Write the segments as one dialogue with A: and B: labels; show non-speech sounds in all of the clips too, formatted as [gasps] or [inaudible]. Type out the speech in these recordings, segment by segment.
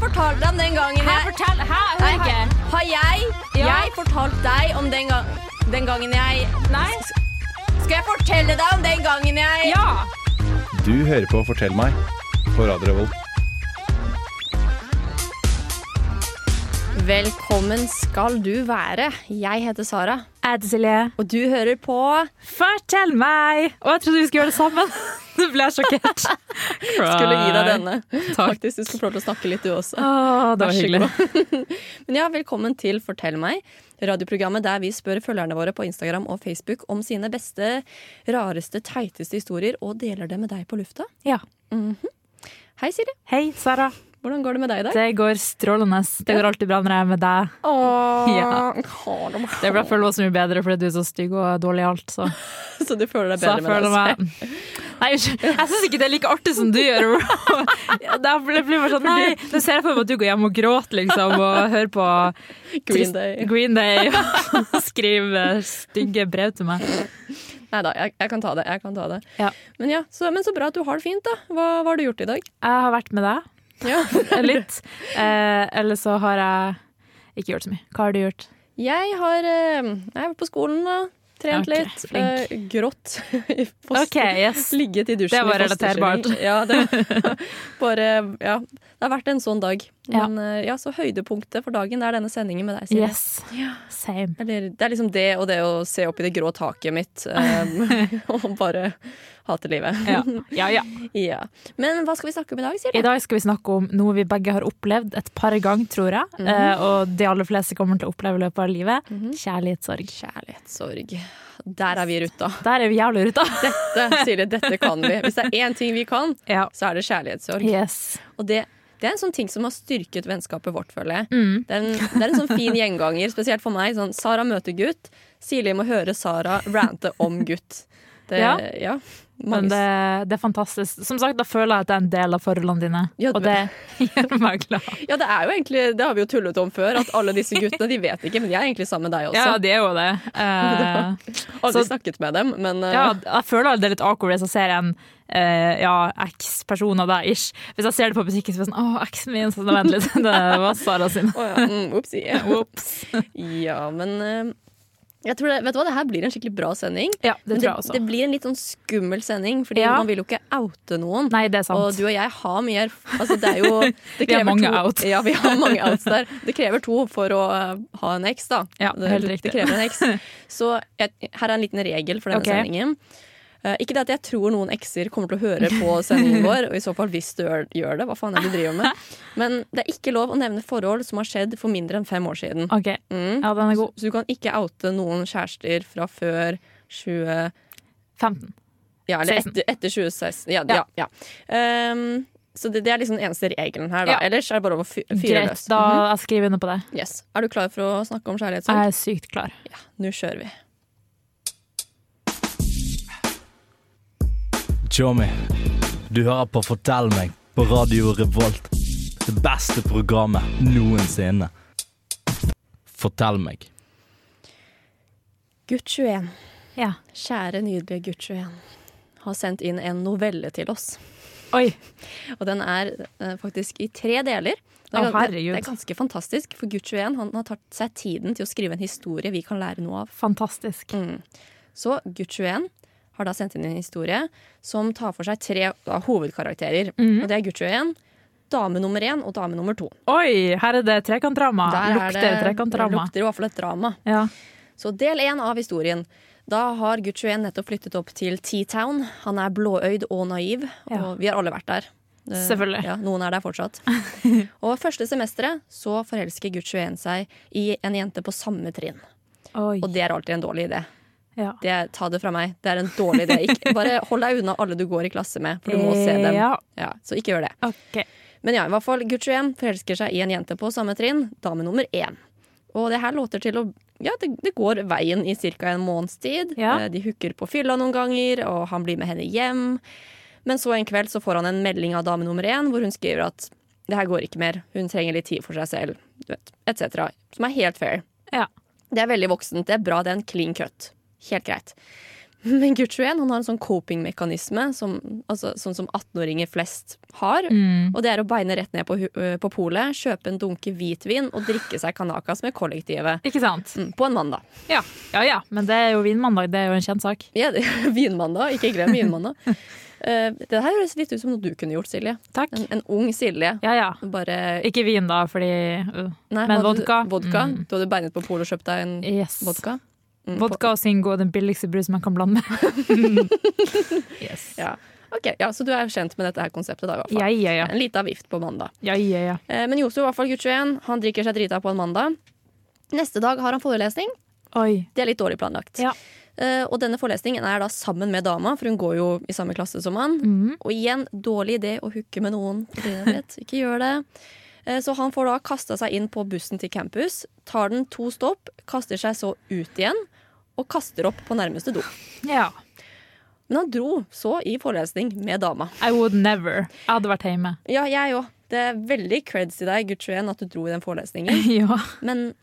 A: fortalt deg om den gangen
B: Hæ,
A: jeg
B: fortell! Hæ,
A: Nei,
B: hører ikke.
A: har- Har jeg,
B: Ja.
A: jeg fortalt deg om den, gang, den gangen jeg
B: Nei?
A: Skal jeg fortelle deg om den gangen jeg
B: Ja!
C: Du hører på Fortell meg på Radio Revolt.
A: Velkommen skal du være. Jeg heter Sara,
B: Jeg heter Silje.
A: og du hører på
B: Fortell meg! Og jeg trodde vi skulle gjøre det sammen. [laughs] Nå ble jeg sjokkert.
A: [laughs] Skulle gi deg
B: Cry.
A: denne. [laughs] Faktisk, Du skal få lov til å snakke litt, du også. Vær
B: Åh, det var
A: så
B: hyggelig.
A: god. Men ja, velkommen til Fortell meg, radioprogrammet der vi spør følgerne våre på Instagram og Facebook om sine beste, rareste, teiteste historier, og deler det med deg på lufta.
B: Ja.
A: Hei, Siri.
B: Hei, Sara.
A: Hvordan går det med deg i dag?
B: Det går strålende. Det går alltid bra når jeg er med deg.
A: Åh,
B: Ja.
A: har du-
B: Det er bra, jeg føler meg så mye bedre fordi du er så stygg og dårlig i alt. Så,
A: Så du føler deg
B: så
A: bedre
B: jeg
A: med
B: føler
A: deg selv?
B: meg [laughs] Nei, unnskyld. Jeg syns ikke det er like artig som du gjør. bro. [laughs] Da blir jeg bare sånn Nei, nå ser jeg for meg at du går hjem og gråter, liksom, og hører på
A: Green
B: trist-
A: Day.
B: Green Day [laughs] og skriver stygge brev til meg.
A: Nei da, jeg, jeg kan ta det. Jeg kan ta det.
B: Ja.
A: Men, ja, så, men så bra at du har det fint, da. Hva, hva har du gjort i dag?
B: Jeg har vært med deg
A: Ja.
B: [laughs] litt. Eh, eller så har jeg ikke gjort så mye. Hva har du gjort?
A: Jeg har eh, Jeg har vært på skolen, da. Trent
B: Ok,
A: litt.
B: flink.
A: eh, grått. [laughs] i foster-
B: OK, yes.
A: Ligget i dusjen.
B: Det var
A: i fosterstilling. [laughs]
B: relaterbart.
A: Ja, det, bare, ja, det har vært en sånn dag.
B: Ja.
A: Men eh, ja, så høydepunktet for dagen det er denne sendingen med deg, Silje.
B: Yes. Same.
A: Eller, det er liksom det og det å se opp i det grå taket [laughs] mitt eh, og bare hate livet.
B: Ja. ja, ja.
A: Ja. Men hva skal vi snakke om i dag, sier du?
B: I dag skal vi snakke om noe vi begge har opplevd et par ganger, tror jeg. eh, og de aller fleste kommer til å oppleve i løpet av livet. Kjærlighetssorg.
A: Kjærlighetssorg. Der er vi i ruta.
B: Der er vi jævlig ruta.
A: Dette, Silje, dette kan vi. Hvis det er én ting vi kan,
B: ja.
A: så er det kjærlighetssorg.
B: Yes.
A: Og det, det er en sånn ting som har styrket vennskapet vårt, føler jeg.
B: Mm.
A: Det, er en, det er en sånn fin gjenganger, spesielt for meg. Sånn, Sara møter gutt. Silje må høre Sara rante om gutt. Det, ja.
B: Ja.
A: mange,
B: Men det, det er fantastisk. Som sagt, da føler jeg at det er en del av forholdene dine,
A: Ja,
B: og det gjør meg glad.
A: ja, det er jo egentlig Det har vi jo tullet om før, at alle disse guttene de vet ikke, men de er egentlig sammen med deg også.
B: Ja, [laughs] det er jo det. Eh,
A: Aldri
B: så-
A: snakket med dem, men eh,
B: ja, jeg føler det er litt awkward hvis jeg ser en eh, ja, eks-person av deg, ish. Hvis jeg ser det på butikken, så blir jeg sånn Å, eksen min! Så vent litt. [laughs] Det var Sara sin.
A: å ja, mm, Opsi.
B: Ops.
A: Ja, men eh, jeg tror det, Vet du hva, det her blir en skikkelig bra sending.
B: Ja, det
A: Men
B: tror jeg også.
A: det blir en litt sånn skummel sending, Fordi
B: Ja.
A: man vil jo ikke oute noen.
B: Nei, det er sant.
A: Og du og jeg har mye erf- altså, det er
B: [laughs]
A: jo, det
B: Vi har
A: krever
B: mange
A: to,
B: out.
A: Ja, vi har mange outs
B: [laughs]
A: der. Det krever to for å eh, ha en eks, da.
B: Ja,
A: det,
B: helt
A: det
B: riktig.
A: krever en
B: [laughs]
A: eks. Så jeg, her er en liten regel for denne
B: Ok.
A: sendingen. Eh, ikke det at jeg tror noen ekser kommer til å høre på sendingen vår, og i så fall hvis du gjør, gjør det, hva faen er det du driver
B: [laughs]
A: med? Men det er ikke lov å nevne forhold som har skjedd for mindre enn fem år siden.
B: OK.
A: Mm.
B: Ja, den er god.
A: Så du kan ikke oute noen kjærester fra før 20...
B: 15.
A: Ja, eller
B: 16.
A: etter, etter 2016. Ja, ja.
B: Ja.
A: ja. Ehm, så det, det er liksom den eneste regelen her. Da.
B: Ja.
A: Ellers er det bare å fy- fyre
B: Greit,
A: løs. Mhm.
B: da jeg skriver under på det.
A: Yes. Er du klar for å snakke om kjærlighetssorg?
B: Jeg er sykt klar.
A: Ja, nå kjører vi.
D: Tjommi, du hører på Fortell meg på Radio Revolt. Det beste programmet noensinne. Fortell meg.
A: Gutt 21,
B: Ja.
A: kjære nydelige gutt 21, har sendt inn en novelle til oss.
B: Oi.
A: Og den er eh, faktisk i tre deler. Det er,
B: Å,
A: gan- det,
B: herregud.
A: det er ganske fantastisk, for gutt 21 han har tatt seg tiden til å skrive en historie vi kan lære noe av.
B: Fantastisk.
A: Så gutt 21 har da sendt inn en historie som tar for seg tre da, hovedkarakterer.
B: Mhm.
A: Og det er gutt 21, dame nummer én og dame nummer to.
B: Oi, her er det trekantdrama.
A: Der er
B: Ah, Lukter trekantdrama.
A: lukter i hvert fall et drama.
B: Ja.
A: Så del én av historien. Da har gutt 21 nettopp flyttet opp til T-Town. Han er blåøyd og naiv,
B: Ja.
A: og vi har alle vært der. Eh,
B: Selvfølgelig.
A: Ja, noen er der
B: [laughs]
A: fortsatt. og første semesteret så forelsker gutt 21 seg i en jente på samme trinn.
B: Oi.
A: Og det er alltid en dårlig idé.
B: Ja.
A: det, ta det fra meg. Det er en dårlig idé.
B: [laughs]
A: Ikke, bare hold deg unna alle du går i klasse med, for du må se dem.
B: Ja.
A: Ja, så ikke gjør det.
B: OK.
A: Men ja, i hvert fall, Gucci M forelsker seg i en jente på samme trinn, dame nummer én. Og det her låter til å Ja, det, det går veien i ca. en måneds tid.
B: Ja.
A: Eh, De hooker på fylla noen ganger, og han blir med henne hjem. Men så en kveld så får han en melding av dame nummer én, hvor hun skriver at det her går ikke mer, hun trenger litt tid for seg selv, du vet, etc. Som er helt fair.
B: Ja.
A: Det er veldig voksent. Det er bra, det er en clean cut. Helt greit. Men gutt 21 han har en sånn coping-mekanisme, som, altså, sånn som 18-åringer flest har.
B: Mm.
A: Og det er å beine rett ned på, hu- øh, på polet, kjøpe en dunke hvitvin og drikke seg kanakas med kollektivet.
B: Ikke sant?
A: Mm, På en mandag.
B: Ja. ja ja, men det er jo Vinmandag, det er jo en kjent sak.
A: Ja, det- [laughs] vinmandag. Ikke glem
B: [laughs]
A: vinmandag. Eh, det her høres litt ut som noe du kunne gjort, Silje.
B: Takk.
A: En, en ung Silje.
B: Ja ja.
A: Bare
B: Ikke vin, da, fordi uh,
A: Nei,
B: Men
A: hadde du-
B: vodka?
A: vodka.
B: Mm.
A: Du hadde beinet på polet og kjøpt deg en
B: Yes. Vodka,
A: vodka? Mm, på-
B: og Singo er den billigste brusen man kan [laughs] blande med. yes.
A: Ja. Ok, ja, Så du er kjent med dette her konseptet, da? i hvert fall.
B: Ja, ja, ja.
A: En liten avgift på mandag.
B: ja, ja, ja.
A: Eh, Men Josef, i hvert fall gutt 21, han drikker seg drita på en mandag. Neste dag har han forelesning.
B: Oi.
A: Det er litt dårlig planlagt.
B: Ja.
A: Eh, Og denne forelesningen er da sammen med dama, for hun går jo i samme klasse som han. Og igjen, dårlig idé å hooke med noen på Tinder. Ikke gjør det. Eh, Så han får da kasta seg inn på bussen til campus, tar den to stopp, kaster seg så ut igjen og kaster opp på nærmeste do.
B: Ja.
A: Men han dro så i forelesning med dama.
B: I would never. Jeg hadde vært hjemme. [laughs]
A: Ja, jeg òg. Det er veldig creds til deg, gutt 21, at du dro i den forelesningen.
B: ja.
A: Men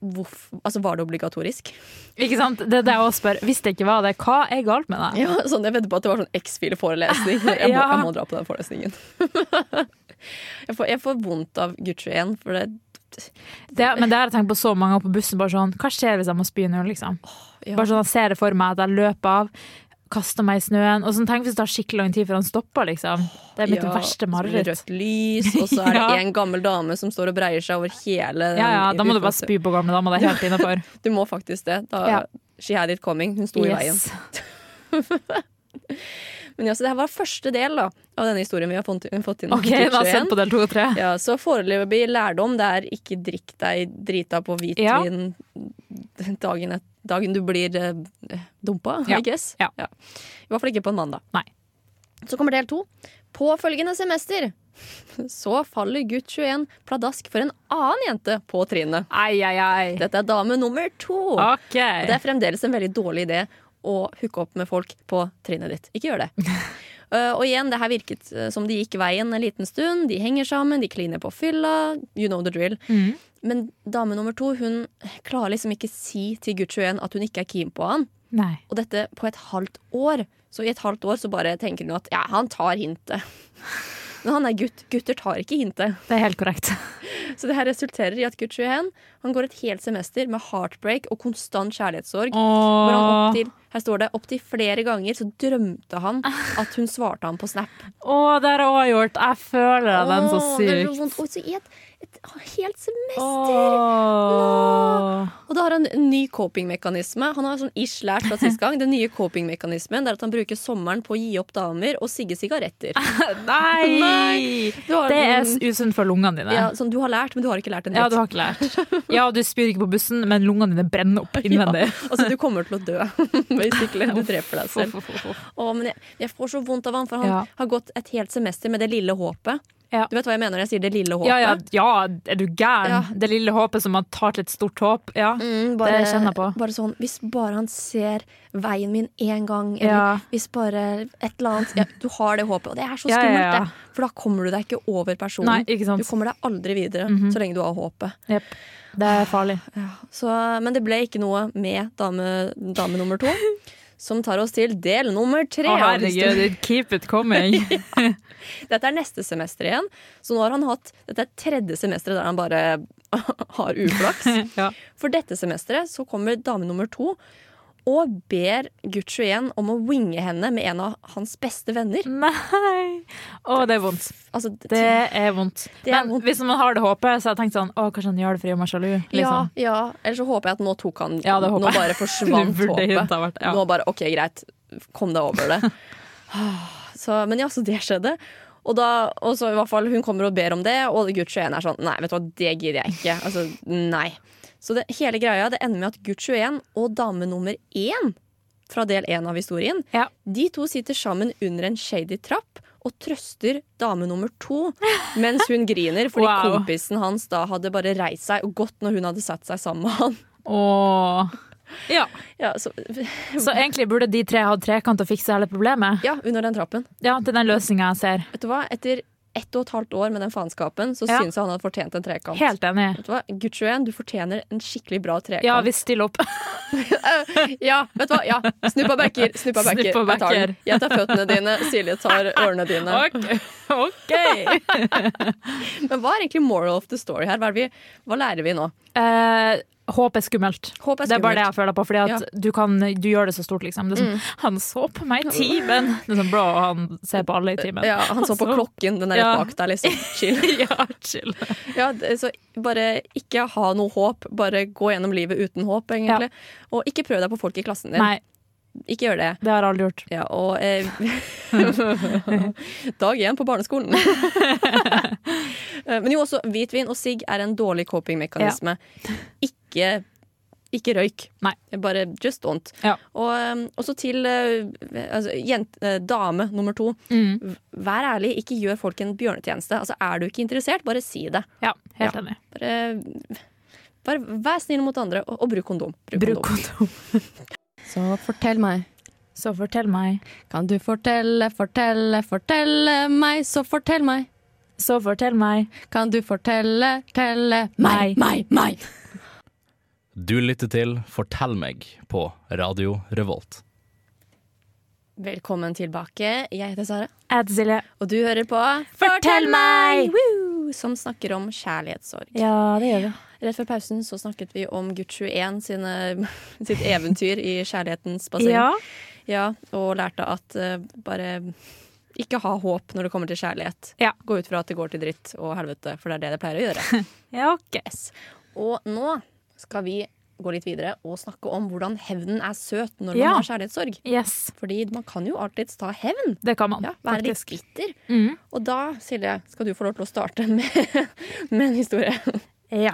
A: hvorf, altså var det obligatorisk?
B: Ikke sant? Det er det jeg også spør. Hvis det ikke var det, hva er galt med deg?
A: [laughs] Ja, sånn, Jeg vedder på at det var sånn [laughs] X-file-forelesning. Jeg, må-
B: Ja.
A: jeg må dra på den forelesningen. [laughs] jeg, får, jeg får vondt av Gucci igjen, for det
B: Det, men det har jeg tenkt på så mange ganger på bussen. Bare sånn, Hva skjer hvis jeg må spy nå? Liksom?
A: ja.
B: Bare sånn, Jeg ser det for meg at jeg løper av, kaster meg i snøen. Og sånn, Tenk hvis det tar skikkelig lang tid før han stopper. liksom. Det er mitt
A: ja,
B: verste
A: så blir det
B: mareritt.
A: Rødt lys, og
B: [laughs]
A: så er det
B: Ja.
A: en gammel dame som står og breier seg over hele den
B: Ja, ja, Da må du bare
A: utplassen.
B: spy på gamle dama. Det er helt innafor.
A: Du må faktisk det. Da,
B: Ja.
A: She had it coming. Hun sto [laughs] i veien. Men ja, så det her var første del da, av denne historien vi har fått fått inn. om
B: OK,
A: Gucci
B: da har jeg
A: igjen.
B: sett på del to og tre.
A: Ja, så foreløpig lærdom det er ikke drikk deg drita på
B: Ja.
A: hvitvin dagen, et, dagen du blir eh, dumpa,
B: Ja.
A: I guess.
B: Ja.
A: I hvert fall ikke på en mandag.
B: Nei.
A: Så kommer del to. På følgende semester [laughs] så faller gutt 21 pladask for en annen jente på trinnet.
B: Ai, ai, ai.
A: Dette er dame nummer to.
B: OK.
A: Og det er fremdeles en veldig dårlig idé å hooke opp med folk på trinnet ditt. Ikke gjør det. Eh, og igjen, det her virket eh, som de gikk veien en liten stund. De henger sammen, de kliner på fylla. You know the drill.
B: Mhm.
A: Men dame nummer to hun klarer liksom ikke si til gutt 21 at hun ikke er keen på han.
B: Nei.
A: Og dette på et halvt år. Så i et halvt år så bare tenker hun at ja, han tar hintet. Men han er gutt. Gutter tar ikke hintet.
B: Det er helt
A: [laughs]
B: korrekt.
A: Så det her resulterer i at gutt 21 han går et helt semester med heartbreak og konstant kjærlighetssorg. Hvor han
B: Åh,
A: opptil, her står det opptil flere ganger så drømte han at hun svarte ham på
B: [laughs]
A: Snap.
B: Åh, det har jeg òg gjort. Jeg føler den så
A: Åh, det er så
B: sykt.
A: vondt. Og så i et, et helt semester!
B: Åh.
A: Og da har han en ny copingmekanisme. Han har sånn ish lært fra sist gang. Den nye copingmekanismen det er at han bruker sommeren på å gi opp damer og sigge sigaretter.
B: Nei!
A: Nei. Du har,
B: Ah, Det er s- usunt for lungene dine.
A: ja,
B: Ja,
A: sånn, Du har lært, men du har ikke lært en dritt.
B: du har ikke lært. Ja, du spyr ikke på bussen, men lungene dine
A: [laughs]
B: brenner opp innvendig.
A: Altså, du kommer til å dø. [laughs] Basically. Du dreper deg selv. Å, men jeg, jeg får så vondt av han, for han
B: Ja.
A: har gått et helt semester med det lille håpet.
B: Ja.
A: Du vet hva jeg mener når jeg sier det lille håpet?
B: Ja, ja, ja, er du gæren?
A: Ja.
B: Det lille håpet som man tar til et stort håp. Ja.
A: Mm, bare,
B: Det kjenner jeg på.
A: Bare sånn, hvis bare han ser veien min én gang, eller
B: Ja.
A: hvis bare et eller annet ja, Du har det håpet, og det er så
B: Ja, ja,
A: skummelt,
B: ja.
A: det. For da kommer du deg ikke over personen.
B: Nei, ikke sant. Mhm.
A: Du kommer deg aldri videre så lenge du har håpet.
B: Jep. Det er farlig.
A: [laughs] Så, men det ble ikke noe med dame, dame nummer
B: [laughs]
A: to, som tar oss til del nummer tre.
B: Å,
A: av historien.
B: herregud, [laughs] keep
A: [laughs]
B: it coming.
A: Dette er neste semester igjen, så nå har han hatt Dette er tredje semesteret der han bare [laughs] har uflaks.
B: Ja.
A: For dette semesteret så kommer dame nummer to og ber Gucci igjen om å winge henne med en av hans beste venner.
B: Nei! Å, det er vondt.
A: Altså,
B: Det er vondt.
A: Det er
B: Men
A: vondt.
B: hvis man har det håpet, så har jeg tenkt sånn Å, kanskje han gjør det fordi han er sjalu?
A: ja,
B: Liksom.
A: ja. Eller så håper jeg at nå tok han
B: Ja, det håper
A: Nå
B: jeg. [laughs]
A: bare forsvant
B: Du burde
A: håpet.
B: hintet ha vært- ja.
A: Nå bare OK, greit. Kom deg over
B: [laughs]
A: det. så, men ja, så det skjedde. Og da, og så i hvert fall hun kommer og ber om det, og Gucci 1 er sånn Nei, vet du hva, det gidder jeg ikke. Altså, nei. Så det, hele greia det ender med at Gucci 1 og dame nummer én fra del én av historien
B: Ja.
A: De to sitter sammen under en shady trapp og trøster dame nummer to mens hun griner fordi
B: Wow.
A: kompisen hans da hadde bare reist seg og gått når hun hadde satt seg sammen med han. [laughs]
B: Åh. Ja.
A: Ja, så,
B: Så egentlig burde de tre hatt trekant og fikse hele problemet.
A: ja, under den trappen.
B: Ja, til den løsninga jeg ser.
A: Vet du hva, etter ett og et halvt år med den faenskapen, så
B: Ja.
A: syns jeg han hadde fortjent en trekant.
B: Helt enig.
A: Vet du hva? Gutt 21, du fortjener en skikkelig bra trekant.
B: Ja, vi stiller opp.
A: [laughs] Ja, vet du hva? Ja. Snuppa backer, snuppa backer.
B: Snuppa
A: Jeg tar
B: backer.
A: den. Jeg tar føttene dine, Silje tar ørene dine.
B: [laughs] OK. ok.
A: [laughs] Men hva er egentlig moral of the story her? Hva, er det vi, hva lærer vi nå?
B: Eh, håp er skummelt.
A: Håp er
B: Det er
A: skummelt.
B: bare
A: Mm.
B: det jeg føler på. Fordi at du, kan, du gjør det så stort, liksom. Det er sånn, Han så på meg i timen! Det er sånn, bro, han ser på alle i timen.
A: Ja, han så på klokken, den er
B: Ja.
A: rett bak deg, liksom. Chill.
B: [laughs] ja, chill.
A: Ja, det- så bare ikke ha noe håp. Bare gå gjennom livet uten håp, egentlig. Og ikke prøv deg på folk i klassen din.
B: Nei,
A: Ikke gjør det.
B: det har jeg aldri gjort.
A: Ja, og eh, [laughs] Dag én på barneskolen. Eh, Men jo, også hvitvin og sigg er en dårlig copingmekanisme. Ikke, ikke røyk.
B: Nei.
A: Bare just don't.
B: Ja.
A: Og eh, også til eh, altså, jent, eh, dame nummer to. V- Vær ærlig, ikke gjør folk en bjørnetjeneste. Altså, er du ikke interessert, bare si det.
B: Ja, helt
A: Ja.
B: enig.
A: Bare, bare vær snill mot andre, og, og bruk kondom.
B: Bruk kondom.
E: Så fortell meg.
B: Så fortell meg,
E: Kan du fortelle, fortelle, fortelle meg, så fortell meg.
B: så fortell meg.
E: Kan du fortelle, telle
B: Meg.
E: meg, meg, meg.
D: Du lytter til Fortell meg på Radio Revolt.
A: Velkommen tilbake. Jeg heter Sara.
B: Jeg heter Silje.
A: Og du hører på
B: Fortell meg!
A: Woo! Som snakker om kjærlighetssorg.
B: Ja, det gjør vi.
A: Rett før pausen så snakket vi om gutt 21 sine, [laughs] sitt eventyr i kjærlighetens basseng.
B: Ja.
A: Ja, og lærte at eh, bare ikke ha håp når det kommer til kjærlighet.
B: Ja.
A: Gå ut fra at det går til dritt og helvete, for det er det det pleier å gjøre.
B: [laughs] ja, ok.
A: Og nå skal vi gå litt videre og snakke om hvordan hevnen er søt når man
B: Ja.
A: har kjærlighetssorg.
B: Yes,
A: Fordi man kan jo alltids ta hevn.
B: det kan man.
A: Ja, Være litt
B: faktisk.
A: bitter.
B: Mhm.
A: Og da, Silje, skal du få lov til å starte [laughs] med, med en historie.
B: Ja.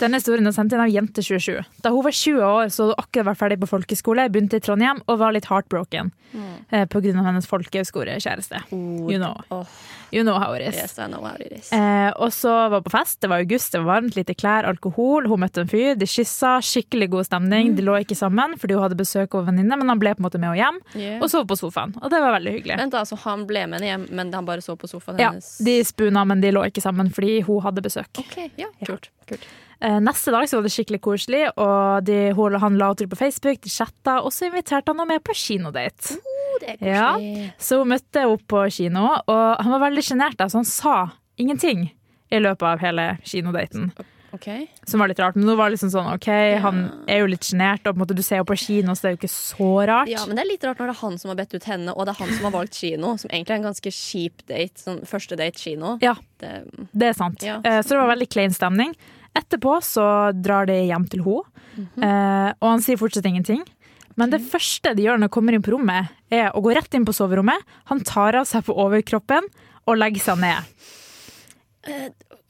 B: Denne historien er sendt inn av Jente27. Da hun var 20 år, så hadde hun akkurat vært ferdig på folkeskole, begynte i Trondheim og var litt heartbroken eh, på grunn av hennes folkehøyskolekjæreste. You know.
A: Åh,
B: You know how it is.
A: yes, I know how it is.
B: Oh, Eh, og så var hun på fest, det var august, det var varmt, lite klær, alkohol. Hun møtte en fyr, de kyssa, skikkelig god stemning. De lå ikke sammen fordi hun hadde besøk av en venninne, men han ble på en måte med henne hjem.
A: Yeah.
B: Og sov på sofaen, og det var veldig hyggelig.
A: Vent, altså, han ble med henne hjem, men han bare så på sofaen
B: Ja,
A: hennes.
B: de spuna, men de lå ikke sammen fordi hun hadde besøk.
A: Ok, ja, kult. kult.
B: Eh, Neste dag så var det skikkelig koselig, og de, hun- han la ut på Facebook, de chatta, og så inviterte han henne med på kinodate.
A: Oh,
B: Ja. Så hun møtte opp på kino, og han var veldig sjenert, så han sa ingenting i løpet av hele kinodaten.
A: Ok.
B: Som var litt rart, men nå var det liksom sånn, ok, han er jo litt sjenert, og på en måte du ser jo på kino, så det er jo ikke så rart.
A: Ja, men det er litt rart når det er han som har bedt ut henne, og det er han som har valgt kino, som egentlig er en ganske kjip date. Sånn første date kino.
B: Ja,
A: Det,
B: det er sant.
A: Ja.
B: Eh, Så det var veldig klein stemning. Etterpå så drar de hjem til henne,
A: Mhm.
B: eh, og han sier fortsatt ingenting. Men det første de gjør når de kommer inn på rommet, er å gå rett inn på soverommet. Han tar av seg på overkroppen og legger seg ned.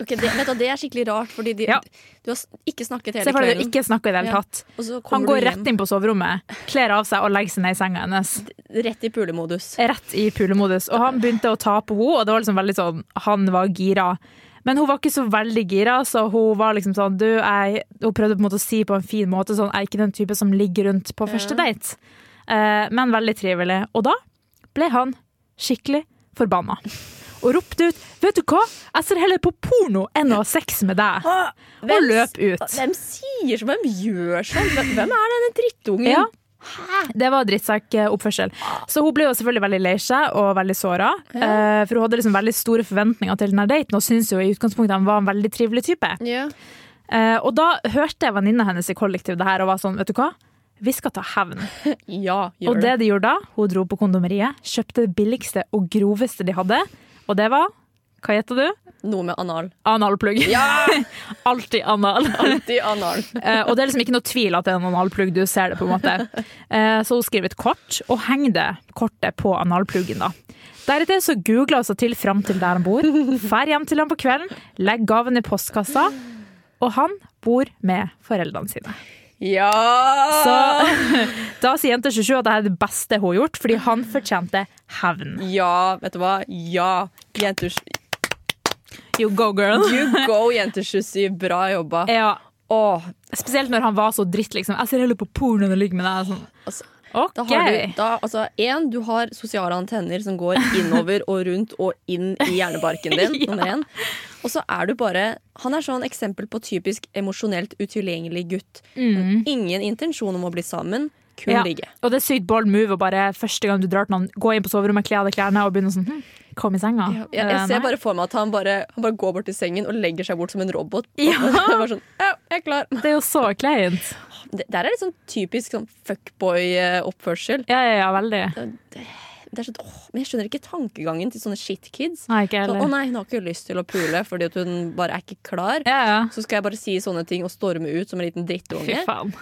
A: ok, det, vet du, det er skikkelig rart, fordi de,
B: Ja.
A: du har s- ikke snakket
B: Se
A: hele
B: for deg at
A: kvelden.
B: ikke snakker i det hele
A: Ja.
B: tatt.
A: Og så
B: Han
A: kommer
B: går
A: du hjem
B: rett inn på soverommet, kler av seg og legger seg ned i senga hennes.
A: rett i pulemodus.
B: Rett i pulemodus. Og han begynte å ta på henne, og det var liksom veldig sånn Han var gira. Men hun var ikke så veldig gira, så hun var liksom sånn du, jeg, Hun prøvde på en måte å si på en fin måte sånn Jeg er ikke den type som ligger rundt på første date. Eh, men veldig trivelig. Og da ble han skikkelig forbanna. Og ropte ut 'Vet du hva, jeg ser heller på porno enn å ha sex med deg'. Eh, Og løp ut.
A: Hvem sier sånn? Hvem gjør sånn? Hvem- Hvem er denne drittungen?
B: Ja. Det var drittsekkoppførsel. Så hun ble jo selvfølgelig veldig lei seg og veldig såra. eh, For hun hadde liksom veldig store forventninger til denne daten og syntes jo i utgangspunktet han var en veldig trivelig type.
A: Ja.
B: Eh, Og da hørte venninna hennes i kollektiv det her og var sånn, vet du hva? Vi skal ta hevn.
A: Ja, gjør
B: Og det de gjorde da, hun dro på kondomeriet, kjøpte det billigste og groveste de hadde, og det var hva gjetter du?
A: Noe med anal.
B: Analplugg.
A: Ja!
B: [laughs] Alltid anal.
A: Alltid anal.
B: Eh, og det er liksom ikke noe tvil at det er en analplugg, du ser det på en måte. Eh, så hun skriver et kort, og henger det kortet på analpluggen da. Deretter så googler hun seg til fram til der han bor, fer hjem til ham på kvelden, legger gaven i postkassa, og han bor med foreldrene sine.
A: Ja!
B: Så [laughs] da sier jente 27 at det er det beste hun har gjort, fordi han fortjente hevn.
A: Ja, vet du hva? Ja! Jenter,
B: You go, girl.
A: you go, jenter 27. Bra jobba.
B: Ja,
A: Åh,
B: spesielt når han var så dritt, liksom. Jeg ser heller på porno enn å ligge med deg. Sånn.
A: altså, Da har
B: Ok.
A: du, da, altså, en, du har sosiale antenner som går innover og rundt og inn i hjernebarken din.
B: [laughs] Ja.
A: nummer én. Og så er du bare Han er sånn eksempel på typisk emosjonelt utilgjengelig gutt. Ingen intensjon om å bli sammen, kun
B: Mm. Ja.
A: ligge.
B: Og det er sykt bold move å bare første gang du drar til noen, gå inn på soverommet, kle av deg klærne og begynne sånn hm, Kom i senga.
A: Jeg, jeg
B: Eh,
A: ser
B: nei.
A: bare for meg at han bare, han bare går bort til sengen og legger seg bort som en robot.
B: [laughs]
A: [laughs]
B: Ja.
A: Og bare sånn, ja, jeg er klar.
B: Det er jo så kleint.
A: Det der er litt sånn typisk sånn fuckboy-oppførsel.
B: Ja, ja, ja, veldig.
A: Det er sånn, åh, men jeg skjønner ikke tankegangen til sånne shitkids.
B: Nei, ikke
A: Sånn, å
B: heller.
A: nei, hun har ikke lyst til å pule fordi at hun bare er ikke klar.
B: Ja, ja.
A: Så skal jeg bare si sånne ting og storme ut som en liten
B: Fy
A: drittunge.
B: faen.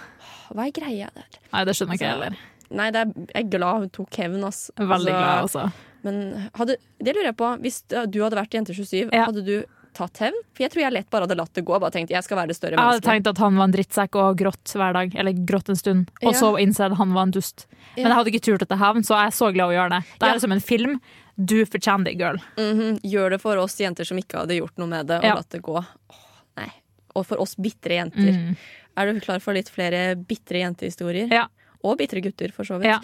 A: Hva er greia der?
B: Nei, det skjønner jeg ikke
A: Så-
B: jeg heller.
A: Nei, det er, jeg er glad hun tok hevn, ass.
B: Veldig
A: Altså,
B: glad, altså.
A: Men hadde, det lurer jeg på. Hvis du hadde vært jente 27,
B: Ja.
A: hadde du tatt hevn? For jeg tror jeg lett bare hadde latt det gå. Bare tenkt, jeg skal være det større
B: Jeg hadde
A: mennesket.
B: tenkt at han var en drittsekk og grått hver dag, eller grått en stund, og
A: Ja.
B: så innså jeg at han var en dust. Men
A: Ja.
B: jeg hadde ikke turt å ta hevn, så jeg er så glad å gjøre det. Det
A: Ja.
B: er som en film. Du fortjener det, girl.
A: Mhm, Gjør det for oss jenter som ikke hadde gjort noe med det, og
B: Ja.
A: latt det gå. Åh, nei. Og for oss bitre jenter. Er du klar for litt flere bitre jentehistorier?
B: Mm. Ja.
A: Og bitre gutter, for så vidt.
B: Ja.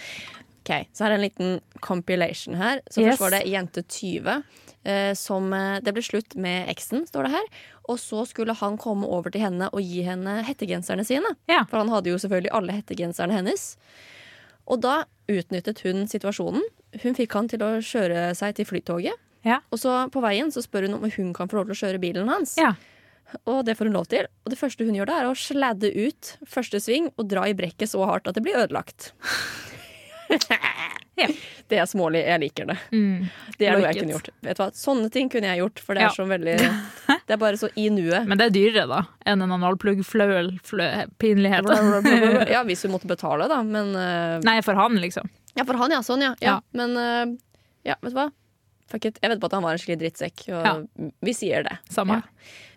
A: Ok, Så er det en liten compilation her. Så
B: Yes.
A: Først var det jente 20. eh, Som, eh, det ble slutt med eksen, står det her. Og så skulle han komme over til henne og gi henne hettegenserne sine.
B: Ja.
A: For han hadde jo selvfølgelig alle hettegenserne hennes. Og da utnyttet hun situasjonen. Hun fikk han til å kjøre seg til flytoget.
B: Ja.
A: Og så på veien så spør hun om hun kan få lov til å kjøre bilen hans.
B: Ja.
A: Og det får hun lov til. Og det første hun gjør da, er å sladde ut første sving og dra i brekket så hardt at det blir ødelagt.
B: [laughs] Ja.
A: Det er smålig. Jeg liker det.
B: Mm.
A: Det er noe
B: Like
A: jeg kunne
B: it.
A: gjort. Vet du hva? Sånne ting kunne jeg gjort, for det er
B: Ja.
A: så
B: [laughs]
A: veldig Det er bare så i nuet.
B: Men det er dyrere, da, enn en analplugg. Fløel, flø, pinlighet.
A: Ja, hvis hun måtte betale, da, men eh,
B: Nei, for han, liksom.
A: Ja, for han, ja. Sånn, ja. ja.
B: Ja.
A: Men eh, ja, vet du hva? Fuck it. Jeg vet på at han var en skikkelig drittsekk, og vi sier det.
B: Samme.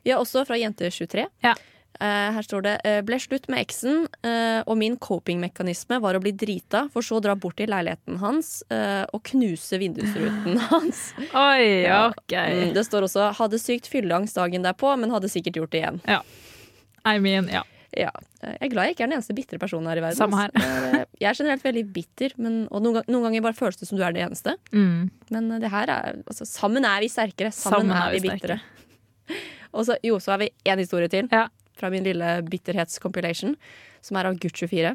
A: Vi har også fra Jente23.
B: Ja.
A: Eh, her står det eh, ble slutt med eksen, eh, og min copingmekanisme var å bli drita, for så å dra bort til leiligheten hans eh, og knuse
B: [laughs]
A: vindusruten hans.
B: Oi,
A: Ja.
B: OK.
A: Mm, det står også 'hadde sykt fylleangst dagen derpå, men hadde sikkert gjort det igjen'.
B: I mean, ja.
A: Ja. Eh, Jeg er glad jeg ikke er den eneste bitre personen her i verden.
B: Samme
A: ass. Det er, eh,
B: [laughs]
A: Jeg er generelt veldig bitter, men, og noen, gang- noen ganger bare føles det som du er det eneste.
B: Mm.
A: Men eh, det her er altså, Sammen er vi sterkere. Sammen, er vi, bitre.
B: sterkere.
A: [laughs] Og så, jo, så har vi én historie til
B: Ja.
A: fra min lille bitterhetscompilation, som er av Gutt 24.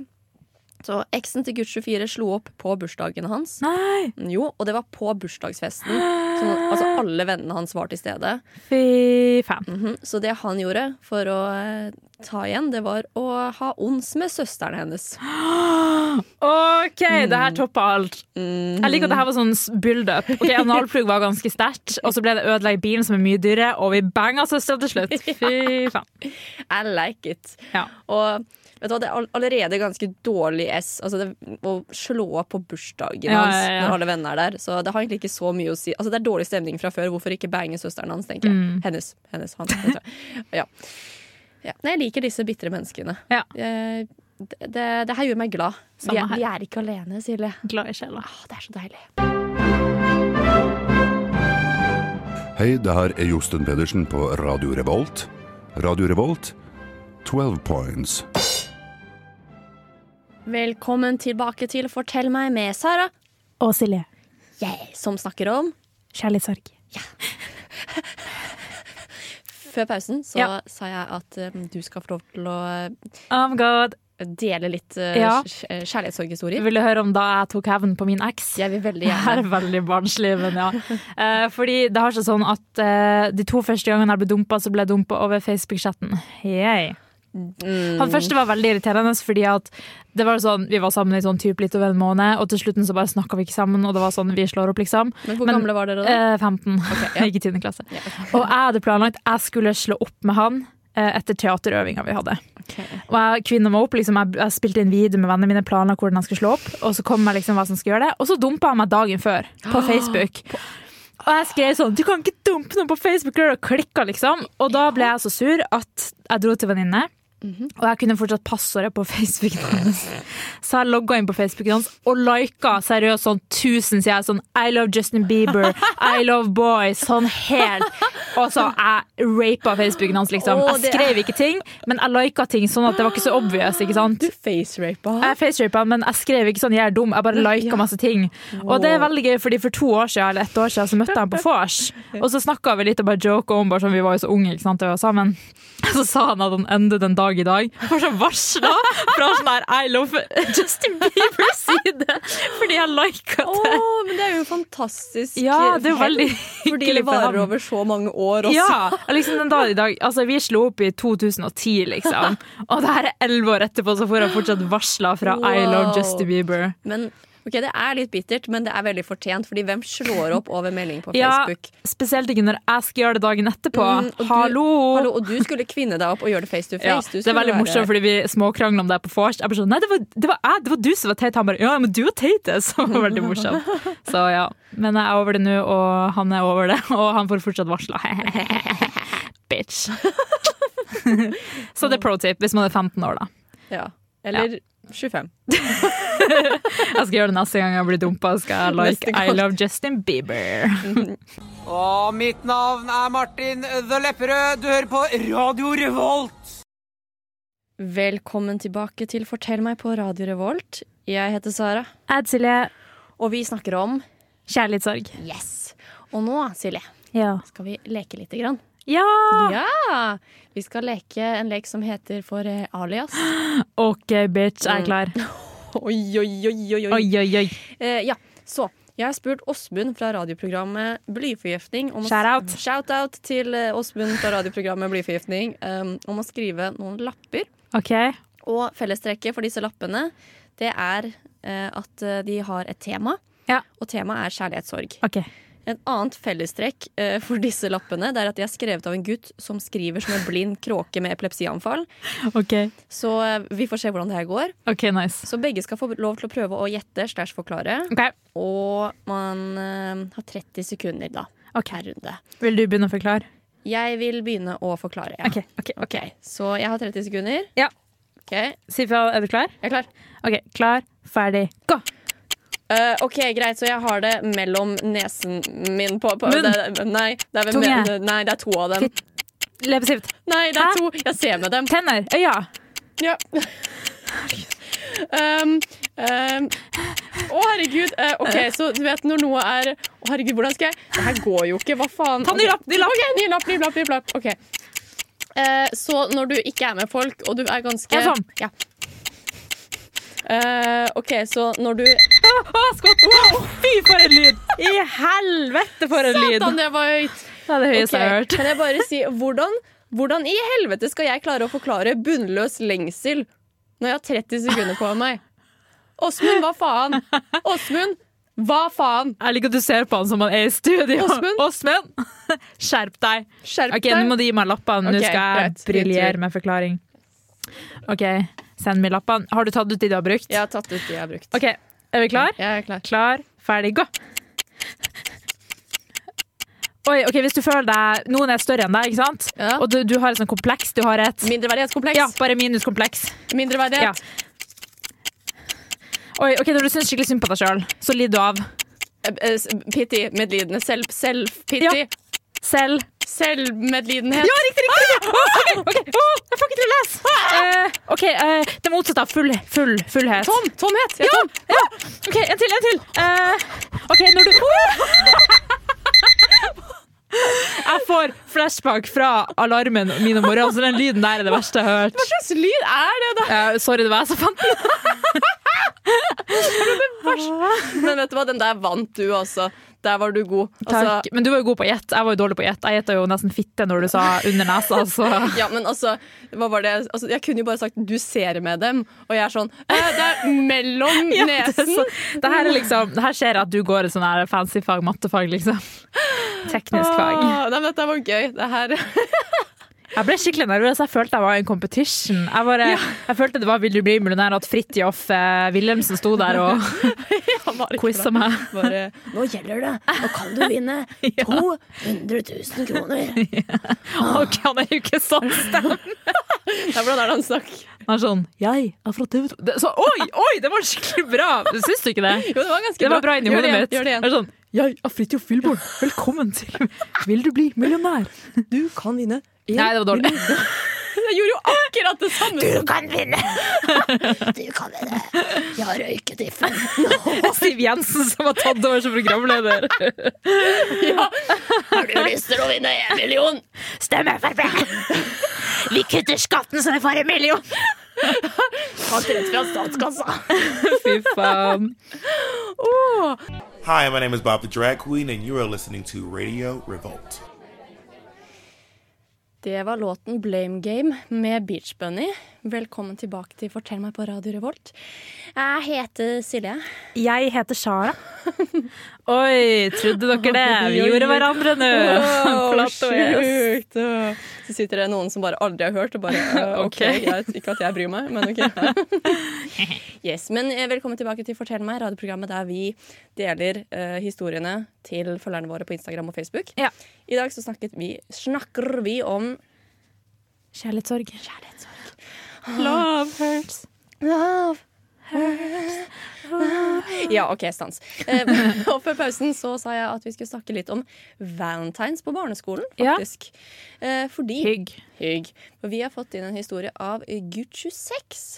A: Så eksen til Gutt 24 slo opp på bursdagen hans.
B: Nei,
A: Jo, og det var på bursdagsfesten. Så, altså, alle vennene hans var til stede.
B: fy faen.
A: Mhm. Så det han gjorde for å eh, ta igjen, det var å ha ons med søsteren hennes.
B: [gasps] OK, det her topper alt.
A: Mhm.
B: Jeg liker at det her var sånn s- build-up. [laughs] Ok, Analplugg var ganske sterkt, og så ble det ødelagt i bilen, som er mye dyrere, og vi banga søstera til [laughs] slutt. Fy faen.
A: I like it.
B: Ja.
A: Og vet du hva, det er all- allerede ganske dårlig S altså det, å slå opp på bursdagen
B: Ja,
A: hans
B: ja, ja.
A: når alle venner er der. Så det har egentlig ikke så mye å si. Altså Det er dårlig stemning fra før. Hvorfor ikke bange søsteren hans, tenker jeg.
B: Mm.
A: Hennes. hennes han, vet du. ja. Ja. Nei, jeg liker disse bitre menneskene.
B: Ja.
A: Eh, Det, det, det her gjør meg glad. Vi
B: Samme
A: er,
B: her.
A: vi er ikke alene, Silje.
B: Glad i sjela.
A: Ah, det er så deilig.
F: Hei, det her er Josten Pedersen på Radio Revolt. Radio Revolt, 12 points.
A: Velkommen tilbake til Fortell meg med Sara,
B: Og Silje.
A: som snakker om
B: Kjærlighetssorg.
A: Før pausen så
B: Ja.
A: sa jeg at eh, du skal få lov til å
B: Oh my god.
A: dele litt eh,
B: Ja.
A: kj- eh, kjærlighetssorghistorier.
B: Vil du høre om da jeg tok hevn på min eks?
A: Jeg vil veldig
B: Det er
A: gjerne.
B: veldig barnslig, men ja. Eh, fordi det har seg sånn at eh, de to første gangene jeg ble dumpa, så ble jeg dumpa over Facebook-chatten. Yay.
A: Mm.
B: Han første var veldig irriterende fordi at det var sånn, vi var sammen i sånn typ litt over en måned, og til slutten så bare snakka vi ikke sammen, og det var sånn vi slår opp, liksom.
A: Men hvor
B: Men-
A: gamle var dere da?
B: Eh, 15. [laughs]
A: ja.
B: Ikke 10. klasse. Og jeg hadde planlagt jeg skulle slå opp med han eh, etter teaterøvinga vi hadde. [laughs] Og jeg kvinna meg opp, liksom, jeg, jeg spilte en video med vennene mine, planla hvordan jeg skulle slå opp. Og så kom jeg liksom hva som skulle gjøre det Og så dumpa han meg dagen før,
A: [gasps]
B: på Facebook. Og jeg skrev sånn 'Du kan ikke dumpe noen på Facebook!' girl», Og klikka, liksom. Og da ble jeg så sur at jeg dro til venninne.
A: Mhm.
B: Og jeg kunne fortsatt passordet på [laughs] Facebooken hans. Så jeg logga inn på Facebooken hans og lika seriøst sånn tusen sider. Sånn I love Justin Bieber, I love boys. Sånn helt Og så jeg rapa Facebooken hans, liksom.
A: Å,
B: Jeg
A: det er-
B: skrev ikke ting, men jeg lika ting sånn at det var ikke så obvious, ikke sant.
A: Du facerapa
B: Jeg facerapa, men jeg skrev ikke sånn 'jeg er dum', jeg bare lika masse ting. Og det er veldig gøy, fordi for to år siden, eller ett år siden så møtte jeg ham på vors, og så snakka vi litt og bare joka om, bare sånn vi var jo så unge, ikke sant, da vi var sammen. [laughs] Så sa han at han ender den dag i dag. Han var så varsla fra sånn her I love Justin Bieber-side, fordi jeg lika
A: Å,
B: det.
A: men det er jo fantastisk.
B: Ja, det er jo
A: hell,
B: veldig
A: Fordi det
B: hyggelig for
A: varer
B: ham.
A: over så mange år også.
B: [laughs] Ja, liksom den dag i dag Altså, vi slo opp i 2010, [laughs] liksom. Og det her er elleve år etterpå, så får jeg fortsatt varsla fra I love
A: Wow.
B: Justin Bieber.
A: Men ok, det er litt bittert, men det er veldig fortjent, fordi hvem slår opp over melding på
B: [laughs] Ja,
A: Facebook?
B: spesielt ikke når jeg skal gjøre det dagen etterpå.
A: Mm, og du-
B: Hallo!
A: Hallo, og du skulle kvinne deg opp og gjøre det face to face.
B: Ja,
A: Du
B: det er
A: skulle
B: veldig
A: være-
B: morsomt, fordi vi småkrangla om det her på vors. Jeg bare sånn Nei, det var, det var jeg, det var du som var teit. Han bare Ja, men du var teit, det. Så [laughs] det var veldig morsomt. Så ja. Men jeg er over det nå, og han er over det. Og han får fortsatt varsla. [laughs] Bitch. [laughs] Så det er pro tip hvis man er 15 år, da.
A: Ja. Eller 25.
B: Jeg skal gjøre det neste gang jeg blir dumpa. Skal jeg
A: Neste
B: like
A: gang.
B: I love Justin Bieber.
G: Og mitt navn er Martin The Lepperød. Du hører på Radio Revolt.
A: Velkommen tilbake til Fortell meg på Radio Revolt. Jeg heter Sara,
B: Jeg, Silje.
A: og vi snakker om
B: Kjærlighetssorg.
A: Yes. Og nå, Silje,
B: Ja.
A: skal vi leke lite grann.
B: ja!
A: Ja! Vi skal leke en lek som heter For eh, alias.
B: OK, bitch. Jeg er klar.
A: [gasps] Oi, oi, oi, oi,
B: Oi, oi, oi.
A: Eh, ja, så jeg har spurt Åsmund fra radioprogrammet Blyforgiftning om å-
B: Shout-out.
A: Shout-out til eh, Åsmund fra radioprogrammet Blyforgiftning um, om å skrive noen lapper.
B: OK.
A: Og fellestrekket for disse lappene det er eh, at eh, de har et tema.
B: Ja.
A: Og temaet er kjærlighetssorg.
B: Ok.
A: Et annet fellestrekk eh, for disse lappene Det er at de er skrevet av en gutt som skriver som en blind kråke med epilepsianfall.
B: Ok,
A: Så eh, vi får se hvordan det her går.
B: ok, nice.
A: Så begge skal få lov til å prøve å gjette slash forklare.
B: Ok,
A: Og man eh, har 30 sekunder da
B: ok.
A: per runde.
B: Vil du begynne å forklare?
A: Jeg vil begynne å forklare. Ja.
B: Ok, ok, ok.
A: Ok, Så jeg har 30 sekunder.
B: Ja.
A: Ok, jeg
B: Si fra, er du klar?
A: er klar.
B: Ok, klar, ferdig, gå!
A: Eh, ok, Greit, så jeg har det mellom nesen min på, på
B: Munn.
A: Det, nei, det er vel
B: Tunge.
A: men- nei, det er to av dem.
B: Fitt. Leppestift,
A: Nei, det er
B: Hæ?
A: to. Jeg ser med dem.
B: tenner, øya!
A: Ja. um, um, å, herregud. Eh, ok, Så du vet når noe er Å, herregud, hvordan skal jeg Det her går jo ikke. Hva faen?
B: Ta ny
A: Ok.
B: lapp, ny lapp.
A: Ok, ny lapp, ny lapp, ny lapp. Ok. Eh, så når du ikke er med folk, og du er ganske
B: Jeg er sånn.
A: Ja. Eh, OK, så når du
B: Å, skott! Wow, fy, for en lyd! I helvete, for en lyd!
A: Satan, det var høyt!
B: Det er det høyeste jeg har
A: Ok,
B: hørt.
A: Kan jeg bare si hvordan, hvordan i helvete skal jeg klare å forklare bunnløs lengsel når jeg har 30 sekunder på meg? Åsmund, hva faen? Åsmund, hva faen?
B: Jeg liker at du ser på han som han er i studio.
A: Åsmund.
B: Åsmund! [laughs] Skjerp deg!
A: Skjerp
B: Ok, nå må du gi meg lappene,
A: Ok,
B: nå skal
A: greit.
B: jeg
A: Din tur.
B: briljere med forklaring. Ok, send meg lappene. Har du tatt ut de du har brukt?
A: Jeg har tatt ut de jeg har brukt.
B: Ok, er vi klar?
A: Jeg er klar.
B: Klar, ferdig, gå! Oi, ok, Hvis du føler deg Noen er større enn deg, ikke sant?
A: Ja.
B: Og du, du har et sånt kompleks. Du har et
A: Mindreverdighetskompleks.
B: Ja, bare minuskompleks. Ja.
A: Mindreverdighet.
B: Oi, ok, Når du syns skikkelig synd på deg sjøl, så lider du av
A: Eh, eh, s- Pity. Medlidende. Selv, Self-pity.
B: Ja. selv
A: Selvmedlidenhet.
B: Ja, riktig, riktig! riktig. Åh, ok, ok. Åh, Ah! jeg får ikke til å lese! Eh, ok, eh, Det motsatte av full, full, fullhet.
A: Tom! Tomhet! Jeg er tom.
B: Ja. OK, en til, en til. Eh, OK, når du [laughs] Jeg får flashback fra alarmen min om morgenen, så den lyden der er det verste jeg har hørt.
A: Hva slags lyd er det, da?
B: Eh, sorry, det var jeg som fant den.
A: Men vet du hva, den der vant du, altså. Der var du god. Altså,
B: Takk. Men du var jo god på å gjette. Jeg var jo dårlig på å gjette. Jeg gjetta jo nesten fitte når du sa under nesa, så
A: [laughs] Ja, men altså, hva var det? Altså, jeg kunne jo bare sagt 'du ser med dem', og jeg er sånn eh, Det er
E: [laughs]
A: mellom nesen!
B: Det her er liksom Det her ser jeg at du går et sånn her fancy fag, mattefag, liksom. Teknisk fag.
A: Åh, nei, men dette var gøy. Det her
B: Jeg ble skikkelig nervøs. Jeg følte jeg var i en competition. Jeg, bare, jeg følte det var 'Vil du bli millionær?' at Fridtjof eh, Wilhelmsen sto der [laughs] og
A: Han var eh, ikke
B: quiza
A: bra.
B: meg.
A: Bare,
H: Nå gjelder det. Nå kan du vinne 200 000 kroner.
B: [laughs] Ok, han er jo ikke sånn stemt.
A: det er hvordan er det han snakker?
B: Han er sånn Jeg er fra TV 2. Det, så, oi, oi, det var skikkelig bra! Syns du ikke det?
A: Jo, det var ganske
B: Det var bra inni
A: Gjør det
B: hodet
A: igjen,
B: mitt.
A: Gjør det igjen.
B: Jeg er sånn Jeg er Fridtjof Wilborn, velkommen til Vil du bli millionær?
A: Du kan vinne.
B: [laughs] Nei, det var dårlig.
A: Jeg gjorde jo akkurat det samme!
H: Du kan vinne! [laughs] Du kan vinne. Jeg har røyket i fem
B: Siv Jensen som har tatt over som [laughs] programleder.
H: Har du lyst til å vinne en million? Stem Frp! Vi kutter skatten så vi får en million! Takk rett fra statskassa.
B: Fy faen.
I: Hi, my name is Bob the Drag Queen, and you are listening to Radio Revolt.
E: Det var låten Blame Game med Beach Bunny. Velkommen tilbake til Fortell meg på Radio Revolt. Jeg heter Silje.
B: Jeg heter Sara. Oi, trodde dere det? Vi gjorde hverandre nå. [laughs]
A: [laughs]
B: Flatt og es.
A: sjukt! Eh, Så sitter det noen som bare aldri har hørt, og [laughs] bare eh, OK,
B: Ok.
A: greit. Ikke at jeg bryr meg, men OK. [laughs] yes, men eh, velkommen tilbake til Fortell meg, radioprogrammet der vi deler eh, historiene til følgerne våre på Instagram og Facebook.
B: Ja.
A: I dag så snakket vi, snakker vi om
B: Kjærlighetssorg. Love hurts.
A: [laughs] Ja, OK, stans. Eh, [laughs] og før pausen så sa jeg at vi skulle snakke litt om valentines på barneskolen,
B: Ja.
A: faktisk. Eh, fordi
B: Hygg.
A: Hygg. For vi har fått inn en historie av gutt 26.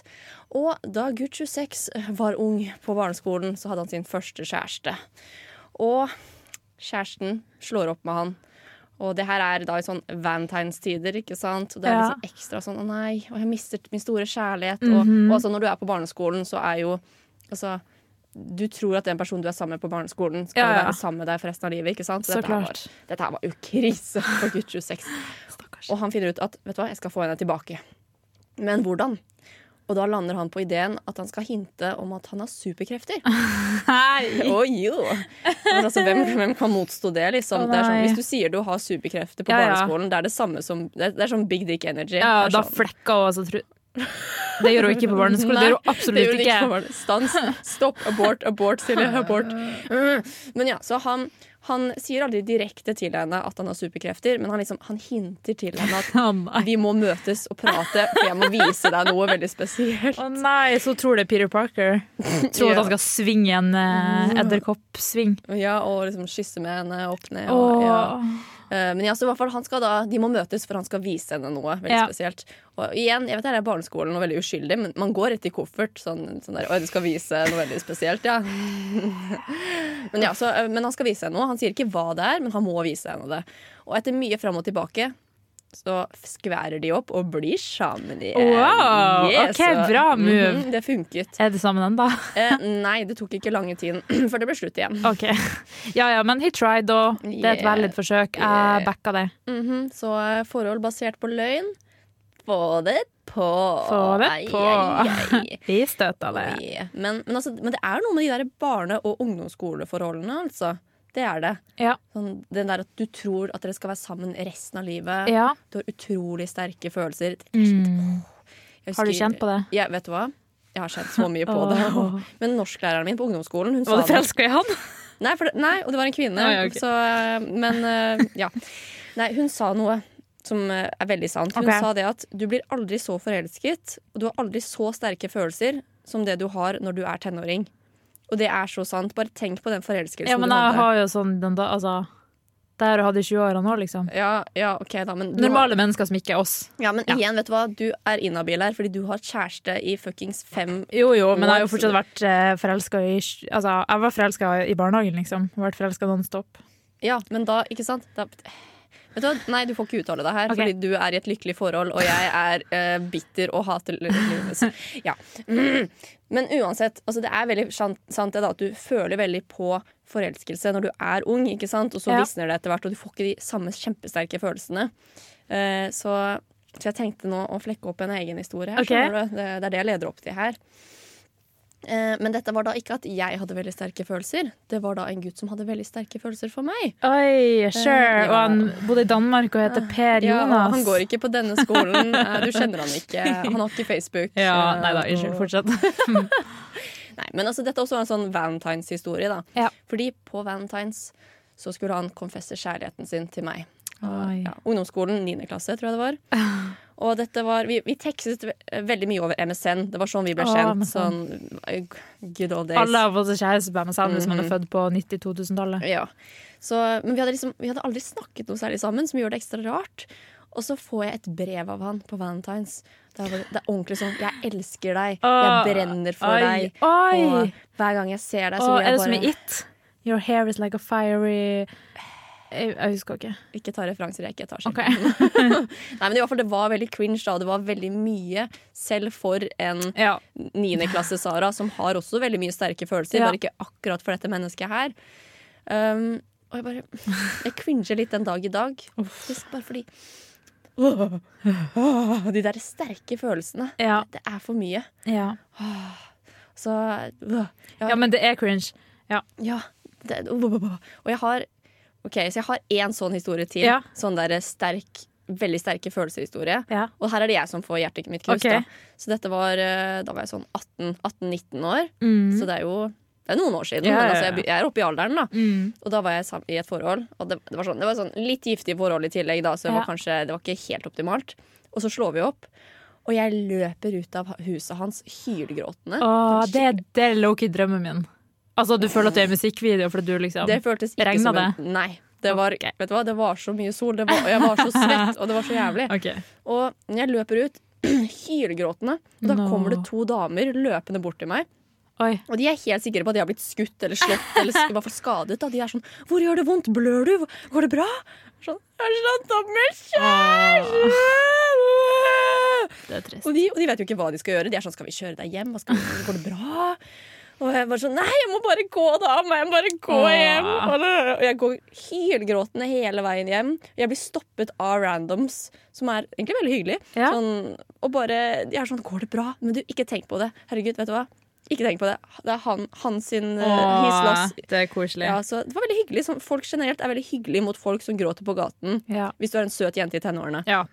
A: Og da gutt 26 var ung på barneskolen, så hadde han sin første kjæreste. Og kjæresten slår opp med han. Og det her er da i sånn valentinestider, ikke sant? Og det er
B: Ja.
A: liksom ekstra sånn 'Å nei, og jeg mistet min store kjærlighet'.
B: Mhm.
A: og, og altså når du er på barneskolen, så er jo Altså, du tror at den personen du er sammen med på barneskolen, skal
B: Ja, ja.
A: være sammen med deg for resten av livet, ikke sant?
B: Så
A: dette her
B: klart.
A: Var, dette her var jo krise for gutt
B: [laughs]
A: 26. Og han finner ut at vet du hva, jeg skal få henne tilbake. Men hvordan? Og da lander han på ideen at han skal hinte om at han har superkrefter.
B: Hei.
A: Oh, jo. Men altså, hvem, hvem kan motstå det? Liksom?
B: Å,
A: det er sånn,
B: nei.
A: hvis du sier du har superkrefter på
B: Ja, ja.
A: barneskolen, det er det samme som Det er, det er sånn big dick energy.
B: Ja,
A: Det er
B: da
A: sånn-
B: flekka hun altså, tru... Det gjør hun ikke
A: [laughs]
B: på barneskolen. Det gjør hun
A: det
B: absolutt
A: gjorde
B: ikke.
A: på barne- Stans. Stopp. Abort. Abort,
B: [laughs]
A: Silje. Abort. Men ja, så han, han sier aldri direkte til henne at han har superkrefter, men han, liksom, han hinter til henne at
B: [laughs] Å nei.
A: vi må møtes og prate, for jeg må vise deg noe veldig spesielt.
B: Å nei, så tror det er Peter
A: [laughs]
B: Parker.
A: Ja.
B: Tror at
A: Mm.
B: han skal svinge en eh, edderkoppsving.
A: Ja, Og liksom kysse med henne opp ned. Og,
B: Åh.
A: ja. Eh, Men ja, så i hvert fall, han skal da, de må møtes, for han skal vise henne noe veldig
B: Ja.
A: spesielt. Og igjen, jeg vet det er barneskolen og veldig uskyldig, men man går rett i koffert. Sånn, sånn der, «Oi, du skal vise noe veldig spesielt, ja. [laughs] men, ja så, eh, men han skal vise henne noe. Han sier ikke hva det er, men han må vise henne det. Og etter mye fram og tilbake så skværer de opp og blir sammen igjen.
B: Wow, ok, bra move.
A: mhm, det funket.
B: Er det sammen
A: [laughs]
B: ennå?
A: Eh, nei, det tok ikke lange tiden [clears throat] før det ble slutt igjen.
B: OK. Ja ja, men he tried, da. Det er et
A: Yeah.
B: valid forsøk. Jeg backa det.
A: Mhm, Så eh, forhold basert på løgn Få det på
B: Få det
A: Ai,
B: på.
A: ai,
B: [laughs]
A: ai.
B: Vi støta det.
A: Oi. Men, men, altså, men det er noe med de der barne- og ungdomsskoleforholdene altså. Det er det
B: Ja.
A: sånn, Den der at du tror at dere skal være sammen resten av livet
B: ja.
A: Du har utrolig sterke følelser sånn,
B: Mm.
A: Jeg
B: Har du
A: husker-
B: kjent på det?
A: Ja, vet du hva? Jeg har kjent så mye på
B: [laughs] Åh.
A: det Men norsklæreren min på ungdomsskolen Hun
B: Var
A: sa
B: du forelska i han?
A: Nei, for det, nei, og det var en kvinne.
B: Ah, ja, ok.
A: så, eh, men eh, ja. Nei, hun sa noe som eh, er veldig sant. Hun
B: Ok.
A: sa det at du blir aldri så forelsket, og du har aldri så sterke følelser som det du har når du er tenåring. Og det er så sant. Bare tenk på den forelskelsen
B: Ja, men
A: du
B: jeg
A: hadde.
B: har jo sånn den da, altså Det har jeg hatt i 20-åra nå, liksom.
A: Ja, ja, ok da, men du har,
B: Normale mennesker som ikke er oss.
A: ja, men igjen, vet du hva? Du er inhabil her, fordi du har kjæreste i fuckings fem
B: Jo, jo, men jeg har jo
A: What?
B: fortsatt vært eh, forelska i Altså, jeg var forelska i barnehagen, liksom. Jeg har Vært forelska non stop.
A: Ja, men da, ikke sant? Da, vet du hva? Nei, du får ikke uttale deg her,
B: Ok.
A: fordi du er i et lykkelig forhold, og jeg er eh, bitter og hater li- livet. Så, Ja. [clears throat] Mm. Men uansett, altså det er veldig sant, sant det da, at du føler veldig på forelskelse når du er ung, ikke sant? og så
B: Ja.
A: visner det etter hvert, og du får ikke de samme kjempesterke følelsene. Eh, så, så jeg tenkte nå å flekke opp en egen historie. her,
B: Ok.
A: skjønner du? Det, det er det jeg leder opp til her. Eh, Men dette var da ikke at jeg hadde veldig sterke følelser. Det var da en gutt som hadde veldig sterke følelser for meg.
B: Oi, sure!
A: Eh, ja.
B: Og han bodde i Danmark Ah, og heter Per
A: Ja,
B: Jonas.
A: og han går ikke på denne
B: [laughs]
A: skolen. Eh, Du kjenner han ikke. Han har ikke Facebook.
B: Ja,
A: Eh,
B: nei da, unnskyld.
A: og-
B: Fortsett.
A: Nei, men altså, dette også var en sånn Valentines-historie. da.
B: Ja.
A: Fordi på Valentines så skulle han konfesse kjærligheten sin til meg.
B: [laughs] Oi. [laughs]
A: Ja, ungdomsskolen, 9. klasse, tror jeg det var. Og dette var, vi, vi tekstet ve- veldig mye over MSN. Det var sånn vi ble
B: Å,
A: kjent.
B: MSN.
A: Sånn, eh, good old days.
B: Alle av oss er kjærester med MSN hvis man er født på 90-2000-tallet.
A: Ja. Så, men vi hadde, liksom, vi hadde aldri snakket noe særlig sammen, som gjorde det ekstra rart. Og så får jeg et brev av han på Valentine's. Det er, bare, det er ordentlig sånn 'Jeg elsker deg. Jeg
B: Åh,
A: brenner for
B: oi,
A: deg.'
B: oi.
A: Og hver gang jeg ser deg, så
B: Og
A: vil
B: er
A: jeg
B: det som i
A: bare
B: It? Your hair is like a fiery Jeg, jeg husker ikke.
A: Ikke ta referanser jeg ikke tar selv.
B: Ok. [laughs]
A: Nei, men i hvert fall, det var veldig cringe, da. Det var veldig mye, selv for en
B: Ja.
A: niendeklasse-Sara, som har også veldig mye sterke følelser,
B: Ja.
A: bare ikke akkurat for dette mennesket her. Um, og jeg bare Jeg cringer litt den dag i dag. Faktisk bare fordi Åh, De der sterke følelsene.
B: Ja.
A: Det er for mye.
B: Ja.
A: Så åh,
B: ja, men det er cringe.
A: Ja. Det, og jeg har Ok, så jeg har én sånn historie til.
B: Ja.
A: Sånn der sterk Veldig sterke følelseshistorie.
B: Ja.
A: Og her er det jeg som får hjertet mitt knust.
B: Ok.
A: Da. Så dette var eh, Da var jeg sånn 18 18-19 år. Så det er jo det er noen år siden,
B: Mm. Ja, ja,
A: men
B: ja.
A: altså, jeg, be- jeg er oppe i alderen. da
B: Mm.
A: Og da var jeg sam- i et forhold, og det, det var sånn, det var sånn litt giftig forhold i tillegg, da, så det,
B: Ja.
A: var kanskje, det var ikke helt optimalt. Og så slår vi opp, og jeg løper ut av huset hans hylgråtende.
B: Åh, det, er- det er low-key drømmen min. Altså, du føler at du er i musikkvideo fordi du liksom
A: Det føltes ikke
B: Regnet
A: som en Nei. Det var, vet du hva? det var så mye sol, det var, og jeg var så svett, og det var så
B: [laughs]
A: jævlig.
B: OK.
A: Og jeg løper ut [clears throat] hylgråtende, og da
B: Nå.
A: kommer det to damer løpende bort til meg.
B: Oi.
A: Og de er helt sikre på at de har blitt skutt eller slått eller i hvert fall skadet. Da. De er sånn 'Hvor gjør det vondt? Blør du? Går det bra?' Sånn 'Jeg har slått opp med kjæresten!' [laughs]
B: Det er trist.
A: Og de, og de vet jo ikke hva de skal gjøre. De er sånn 'Skal vi kjøre deg hjem? Hva skal vi, går det bra?' Og jeg bare sånn 'Nei, jeg må bare gå, da. Må jeg bare gå
B: Åh.
A: hjem?' Og det- Og jeg går hylgråtende hele veien hjem. Jeg blir stoppet av randoms, som er egentlig veldig hyggelig.
B: Ja.
A: Sånn, og bare De er sånn 'Går det bra?' Men du, ikke tenk på det. Herregud, vet du hva? Ikke tenk på det. Det er han, han sin eh, His
B: Åh,
A: loss.
B: det er koselig.
A: Ja, så det var veldig hyggelig. Sånn, folk generelt er veldig hyggelige mot folk som gråter på gaten.
B: Ja.
A: Hvis du er en søt jente i tenårene.
B: ja.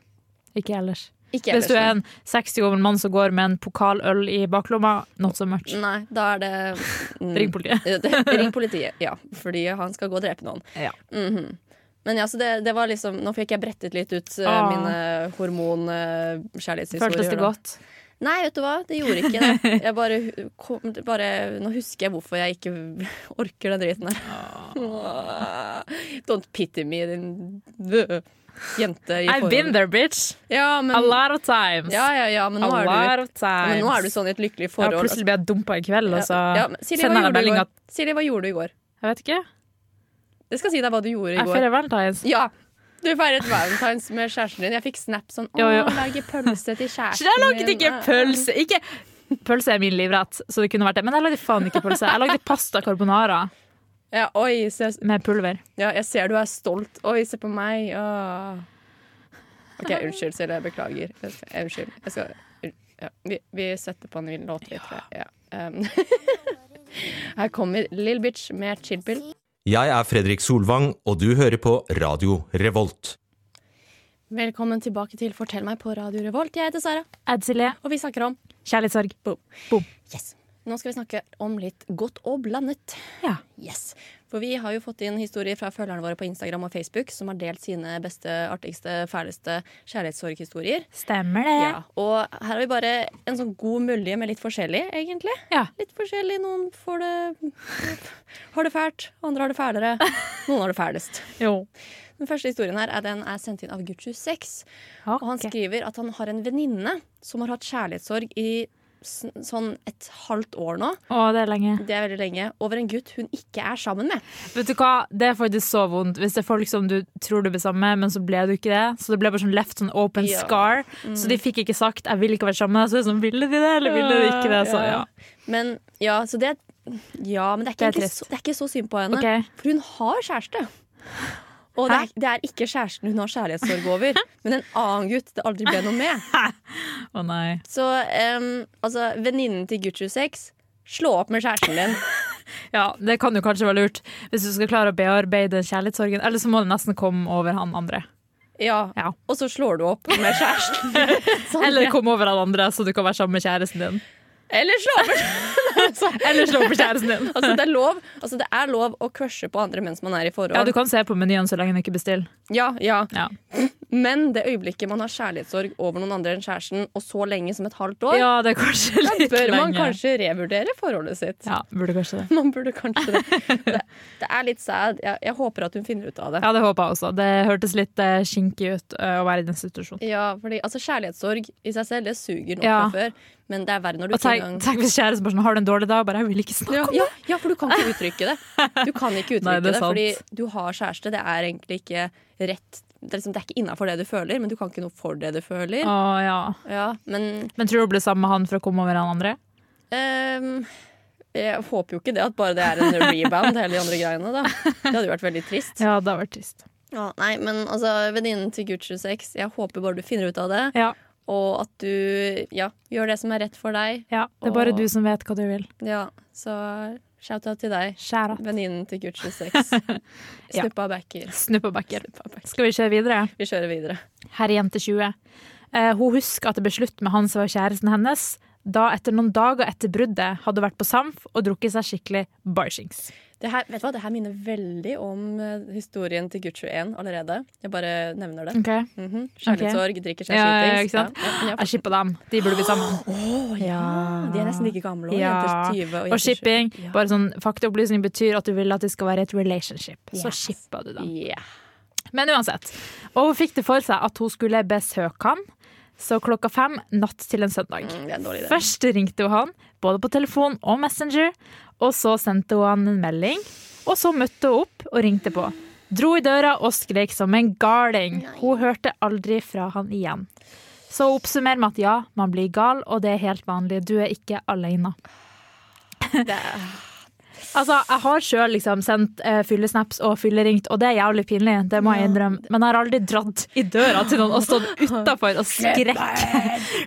B: Ikke ellers.
A: Ikke
B: Hvis du er
A: ellers,
B: en 60 år gammel mann som går med en pokaløl i baklomma, not so much.
A: Nei, da er
B: [laughs]
A: det mm,
B: Ring politiet.
A: Det- Ring politiet, ja. Fordi han skal gå og drepe noen.
B: Ja.
A: Mhm. Men ja, så det, det var liksom Nå fikk jeg brettet litt ut eh,
B: Ah.
A: mine hormonkjærlighetshistorier.
B: Føltes det godt?
A: Nei, vet du hva. Det gjorde ikke
B: [laughs]
A: det. Jeg bare, hu- kom, bare Nå husker jeg hvorfor jeg ikke [laughs] orker den driten
B: Ah.
A: her. [laughs] Don't pity me, din dø- jente i
B: I've been
A: forhold.
B: there, bitch!
A: Ja, men,
B: A lot of times.
A: ja, ja, ja, men
B: A
A: nå er
B: lot
A: du
B: of times.
A: men nå er du sånn i et lykkelig
B: Ja,
A: forhold.
B: plutselig altså- ble jeg dumpa i kveld, og så
A: Ja, men Silje, hva
B: sender jeg
A: gjorde du i
B: melding
A: går?
B: at
A: Silje, hva gjorde du i går?
B: Jeg vet ikke.
A: Jeg skal si deg hva du gjorde i
B: Jeg
A: går.
B: feirer valentines.
A: Ja. Du feiret valentines med kjæresten din. Jeg fikk snap sånn Å,
B: Jo, jo.
A: lage pølse
B: [laughs]
A: til kjæresten
B: Jeg laget ikke
A: min.
B: pølse. Ikke Pølse er min livrett, så det kunne vært det. Men jeg lagde faen ikke pølse. Jeg lagde pasta carbonara
A: Ja, oi, se,
B: med pulver.
A: ja, jeg ser du er stolt. Oi, se på meg. Åh. OK, unnskyld, Silje. Jeg beklager. Jeg skal- jeg- Unnskyld. Jeg skal unn- ja. vi, vi setter på en ny låt, vi, tror jeg. Ja. Um. [laughs] Her kommer Lill Bitch med Chill Pill.
J: Jeg er Fredrik Solvang, og du hører på Radio Revolt.
E: Velkommen tilbake til Fortell meg på Radio Revolt. Jeg heter Sara,
B: Ed Silje,
E: og vi snakker om
B: kjærlighetssorg.
E: Yes. Nå skal vi snakke om litt godt og blandet.
B: Ja.
E: Yes. For vi har jo fått inn historier fra følgerne våre på Instagram og Facebook som har delt sine beste, artigste, fæleste kjærlighetssorghistorier.
B: Stemmer det.
E: Ja. Og her har vi bare en sånn god mølje med litt forskjellig, egentlig.
B: Ja.
E: Litt forskjellig. Noen får det har det fælt, andre har det fælere. Noen har det fælest.
B: Jo.
E: Den første historien her er, den er sendt inn av Gucci6. Og han
B: Ok.
E: skriver at han har en venninne som har hatt kjærlighetssorg i s- sånn et halvt år nå.
B: Å, det er lenge.
E: Det er veldig lenge. Over en gutt hun ikke er sammen med.
B: Vet du hva, det er faktisk så vondt Hvis det er folk som du tror du ble sammen med Men så ble du ikke det Så det ble bare sånn left sånn open
E: Ja.
B: scar Så de fikk ikke sagt Jeg vil ikke være sammen med deg Så det er sånn, ville de det eller ville de ikke det Så ja,
E: Men ja, så det Ja, men det er
B: Det
E: ikke,
B: er
E: egentlig
B: trist.
E: så, det er ikke så synd på henne.
B: Ok.
E: For hun har kjæreste. Og det er, det er ikke kjæresten hun har kjærlighetssorg
B: [laughs]
E: over, men en annen gutt det aldri ble noe med.
B: å nei
E: Så em, altså, venninnen til Gucci 6 Slå opp med kjæresten din.
B: Ja, det kan jo kanskje være lurt Hvis du skal klare å bearbeide kjærlighetssorgen Eller så må det nesten komme over han andre
E: Ja.
B: Ja.
E: Og så slår du opp med kjæresten. Sånn.
B: [laughs] Eller komme over han andre Så du kan være sammen med kjæresten din
E: Eller slå opp med
B: Eller slå på kjæresten
A: [laughs]
B: din
E: altså, det, er lov, altså, det er lov å crushe på andre mens man er i forhold.
B: Ja, du kan se på menyen så lenge du ikke bestiller
E: Ja, ja.
B: Ja.
A: Men det øyeblikket man har kjærlighetssorg over noen andre enn kjæresten, og så lenge som et halvt år,
B: Ja, det er kanskje
A: da
B: litt
A: bør man
B: lenge.
A: kanskje revurdere forholdet sitt. [laughs]
B: Ja, burde kanskje det.
A: Man burde kanskje det. Det, det er litt sad. Jeg, jeg håper at hun finner ut av det.
B: Ja, det håper jeg også. Det hørtes litt eh, skinkig ut eh, å være i den situasjonen.
A: Ja, fordi altså, Kjærlighetssorg i seg selv det suger nok
B: Ja.
A: fra før, men det er verre når du
B: Og
A: ikke
B: tenk,
A: engang
B: tenk hvis kjæresten bare sånn, har du en dårlig dag, bare jeg vil ikke snakke
A: ja,
B: om det.
A: ja, ja, for du kan ikke uttrykke det. Du [laughs] kan ikke uttrykke
B: Nei, det
A: det,
B: er sant.
A: fordi du har kjæreste. Det er egentlig ikke rett Det er, liksom, det er ikke innafor det du føler, men du kan ikke noe for det du føler.
B: Å, ja.
A: Ja, men
B: Men tror du hun ble sammen med han for å komme over han andre?
A: Ehm, jeg håper jo ikke det at bare det er en rebound, hele de andre greiene. da Det hadde jo vært veldig trist.
B: Ja, det har vært trist.
A: Ja, nei, men altså, venninnen til Gucci 6, jeg håper bare du finner ut av det.
B: Ja.
A: Og at du ja, gjør det som er rett for deg.
B: Ja, det er bare
A: Og-
B: du som vet hva du vil.
A: Ja, så shout-out til deg,
B: Skjæra.
A: venninnen til Gucci [laughs] 6.
B: Ja.
A: Snuppa backer.
B: Snuppebakker. Skal vi kjøre videre?
A: Vi kjører videre.
B: Herrejente 20. Eh, hun husker at det ble slutt med han som var kjæresten hennes. Da, etter noen dager etter bruddet, hadde hun vært på Samf og drukket seg skikkelig barshings.
A: Det her, vet du hva, det her minner veldig om eh, historien til Gucci 1 allerede. Jeg bare nevner det.
B: Ok?
A: Mhm. Kjærlighetssorg, drikker seg
B: Ja, ja,
A: skitings.
B: ikke sant?
A: Ja, ja, men jeg
B: Jeg shippa dem. De burde bli sammen.
A: Ja, De er nesten like gamle òg.
B: Ja.
A: Jenter 20 og,
B: Og
A: jenter
B: shipping.
A: 20. Ja.
B: Bare sånn faktaopplysning betyr at du vil at det skal være et relationship. Så
A: Yes.
B: shippa du dem.
A: Yeah.
B: Men uansett. Og hun fikk det for seg at hun skulle besøke han. Så klokka fem natt til en søndag.
A: Mm, Det er en dårlig idé.
B: Først ringte hun han, både på telefon og Messenger. Og så sendte hun han en melding. Og så møtte hun opp og ringte på. Dro i døra og skrek som en galing. Hun hørte aldri fra han igjen. Så hun oppsummerer med at ja, man blir gal, og det er helt vanlig. Du er ikke alene.
A: Det er,
B: Altså, jeg har sjøl liksom sendt eh, fyllesnaps og fylleringt, og det er jævlig pinlig. Det må jeg innrømme. Men jeg har aldri dratt i døra til noen og stått utafor og skrekk.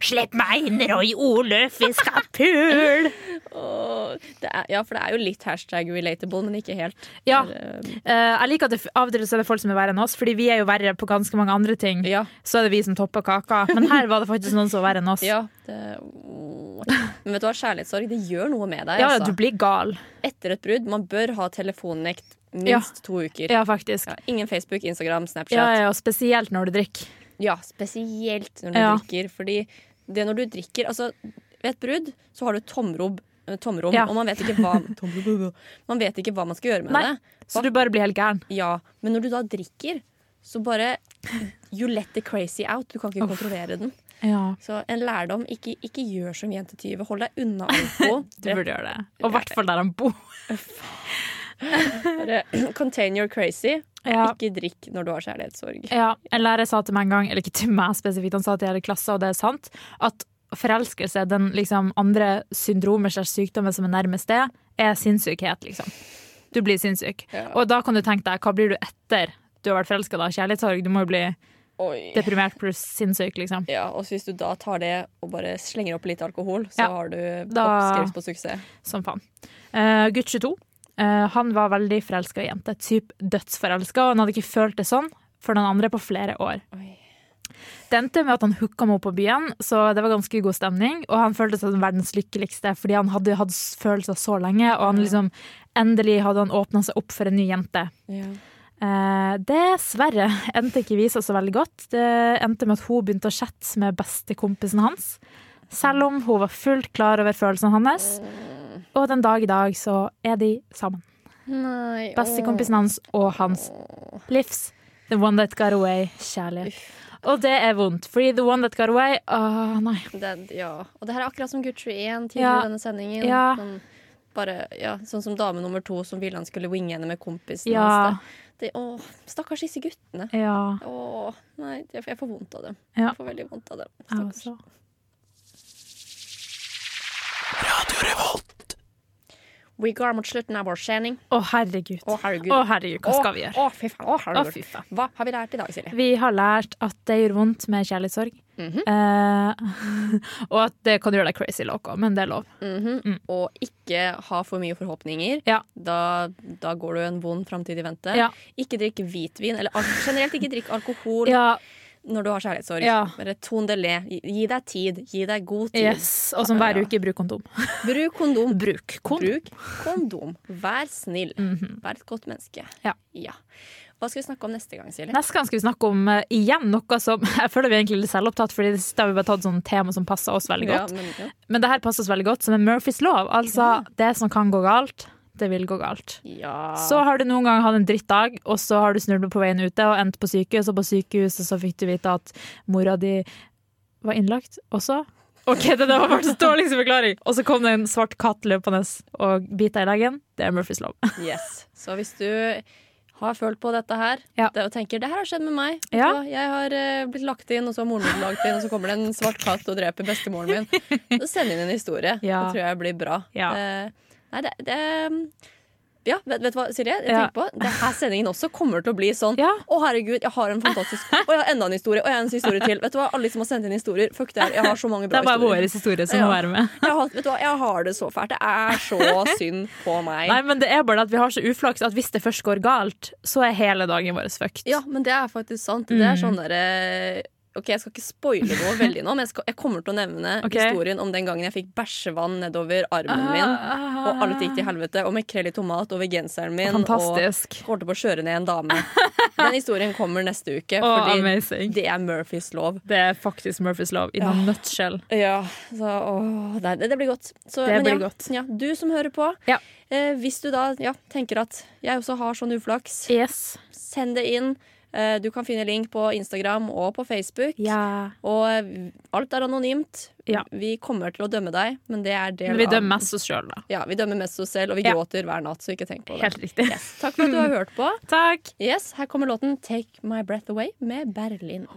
H: Slipp meg inn, Roy Oluf, vi skal pul!
A: Åh, det er, ja, for det er jo litt hashtag relatable, men ikke helt.
B: Ja.
A: Eh,
B: Eh, jeg liker at det f- av og til så er det folk som er verre enn oss, fordi vi er jo verre på ganske mange andre ting.
A: Ja.
B: Så er det vi som topper kaka. Men her var det faktisk noen som var verre enn oss.
A: ja det, åh. Men vet du hva, kjærlighetssorg det gjør noe med deg.
B: Ja,
A: altså.
B: du blir gal.
A: Etter et brudd. Man bør ha telefonnekt
B: Ja.
A: minst to uker.
B: Ja, faktisk.
A: Ja, ingen Facebook, Instagram, Snapchat.
B: Ja,
A: Ja,
B: ja, og spesielt når du drikker.
A: spesielt når du
B: Ja.
A: drikker. Fordi det når du drikker Altså, ved et brudd så har du tomrom, eh, tomrom
B: Ja.
A: og man vet, ikke hva,
B: [laughs]
A: man vet ikke hva man skal gjøre med
B: Nei.
A: det.
B: Så du bare blir helt gæren.
A: Ja, men når du da drikker, så bare You let the crazy out. Du kan ikke kontrollere den.
B: Ja,
A: Så en lærdom ikke, ikke gjør som jente 20. Hold deg unna alkohol.
B: du burde gjøre [laughs] det. Og i hvert fall der han bor.
A: Bare [clears throat] contain your crazy.
B: Ja.
A: Ikke drikk når du har kjærlighetssorg.
B: Ja, En lærer sa til meg en gang, eller ikke til meg spesifikt, han sa til hele klassen, og det er sant, at forelskelse, den liksom andre syndromer slags sykdommer som er nærmest det, er sinnssykhet, liksom. Du blir sinnssyk. Og da kan du tenke deg, hva blir du etter du har vært forelska da? Kjærlighetssorg? Du må jo bli
A: Oi.
B: deprimert pluss sinnssyk, liksom.
A: Ja, og så hvis du da tar det og bare slenger opp litt alkohol, så
B: Ja.
A: har du
B: Da-
A: oppskrift på suksess.
B: Som faen. Eh, gutt 22, eh, han var veldig forelska i jente, typ dødsforelska, og han hadde ikke følt det sånn for den andre på flere år.
A: Oi.
B: Det endte med at han hooka meg opp på byen, så det var ganske god stemning. Og han følte seg som verdens lykkeligste, fordi han hadde hatt følelser så lenge. Og han liksom, endelig hadde han åpna seg opp for en ny jente.
A: Ja.
B: Eh, dessverre endte ikke vi seg så veldig godt. Det endte med at hun begynte å chatte med bestekompisen hans. Selv om hun var fullt klar over følelsene hans. Og den dag i dag så er de sammen.
A: Nei,
B: Bestekompisen hans og hans livs The One That Got Away, kjærlighet. Og det er vondt, fordi The One That Got Away Åh, nei.
A: Det, ja. Og det her er akkurat som Gucci 1 tidligere
B: Ja.
A: i denne sendingen.
B: Ja.
A: Sånn, bare, ja, sånn som dame nummer to som ville han skulle winge henne med kompisen.
B: Ja.
A: hans, Det, det, åh, stakkars disse guttene.
B: Ja.
A: Åh, nei, jeg, jeg får vondt av dem.
B: Ja.
A: Jeg får veldig vondt av dem.
B: jeg
A: Stakkars.
B: også.
A: Vi går mot slutten av vår sending.
B: Å, herregud.
A: Å, herregud.
B: Å, herregud, hva skal vi gjøre?
A: Å, fy faen. Å,
B: Å,
A: herregud.
B: fy faen.
A: Hva har vi lært i dag, Silje?
B: Vi har lært at det gjør vondt med kjærlighetssorg.
A: Mhm.
B: eh, [laughs] og at det kan gjøre deg crazy loco, men det er lov. Mm.
A: Og ikke ha for mye forhåpninger.
B: Ja.
A: Da, da går du en vond framtid i vente.
B: Ja.
A: Ikke drikk hvitvin. Eller al- generelt ikke drikk alkohol
B: Ja,
A: når du har kjærlighetssorg.
B: Ja.
A: Bare ton det le. Gi, gi deg tid. Gi deg god tid.
B: yes. Og som hver uke, bruk kondom.
A: Bruk kondom.
B: Bruk kondom. Mhm.
A: Bruk kondom. Vær snill. Vær et godt menneske.
B: Ja.
A: Ja. Hva skal vi snakke om neste gang, Silje?
B: Neste gang skal vi snakke om eh, igjen noe som [laughs] Jeg føler vi er egentlig litt selvopptatt, Fordi det siste har vi bare tatt sånn tema som passer oss veldig godt.
A: Ja, men, ja.
B: Men det her passer oss veldig godt, som er Murphys lov. Altså, det som kan gå galt, det vil gå galt.
A: Ja.
B: Så har du noen gang hatt en drittdag, og så har du snublet på veien ute og endt på sykehus, og på sykehuset så fikk du vite at mora di var innlagt også. OK, det der var bare så dårligste forklaring! Og så kom det en svart katt løpende og bit deg i leggen. Det er Murphys lov.
A: Yes. Så hvis du har følt på dette her det, og tenker det her har skjedd med meg Vet du
B: Ja.
A: hva? Jeg har eh, blitt lagt inn, og så har moren min lagt inn, og så kommer det en svart katt og dreper bestemoren
B: [laughs]
A: min. Så send inn en historie.
B: Ja.
A: Det tror jeg blir bra.
B: Ja.
A: Eh, nei, det, det mm, ja, vet, vet du hva, Silje? Jeg
B: Ja.
A: tenker på, det her sendingen også kommer til å bli sånn Å, herregud, jeg har en fantastisk Og jeg har enda en historie, og jeg har en historie til. Vet du hva, Alle som har sendt inn historier, fuck det her. Jeg har så mange
B: Det
A: bra
B: er bare vår
A: historier.
B: historie som må være med.
A: Jeg har, vet du hva, jeg har det så fælt. Det er så synd på meg.
B: Nei, men det er bare at vi har så uflaks at hvis det først går galt, så er hele dagen vår fucked.
A: Ja, men det er faktisk sant. Det
B: Mm.
A: er sånn derre Ok, jeg skal ikke spoile noe veldig nå, men jeg, skal, jeg kommer til å nevne
B: Ok.
A: historien om den gangen jeg fikk bæsjevann nedover armen min,
B: Ah.
A: og alt gikk til helvete, og makrell i tomat over genseren min,
B: Fantastisk.
A: og holdt på å kjøre ned en
B: [laughs]
A: dame. Den historien kommer neste uke,
B: Å,
A: fordi
B: amazing.
A: det er Murphys lov.
B: Det er faktisk Murphys lov in a nutshell.
A: Ja, så åh, nei, det, det blir godt. Så,
B: Det
A: men
B: blir
A: ja,
B: godt.
A: ja, du som hører på, eh, hvis du da ja, tenker at jeg også har sånn uflaks, send det inn. Eh, du kan finne link på Instagram og på Facebook. Og eh, alt er anonymt.
B: Ja.
A: Vi kommer til å dømme deg, men det er del
B: Men vi
A: av-
B: dømmer mest oss sjøl, da.
A: Ja, vi dømmer mest oss selv, og vi
B: Ja.
A: gråter hver natt, så ikke tenk på det.
B: Helt riktig.
A: Yes. Takk for at du har hørt på.
B: Takk.
A: Yes, her kommer låten 'Take My Breath Away' med Berlin.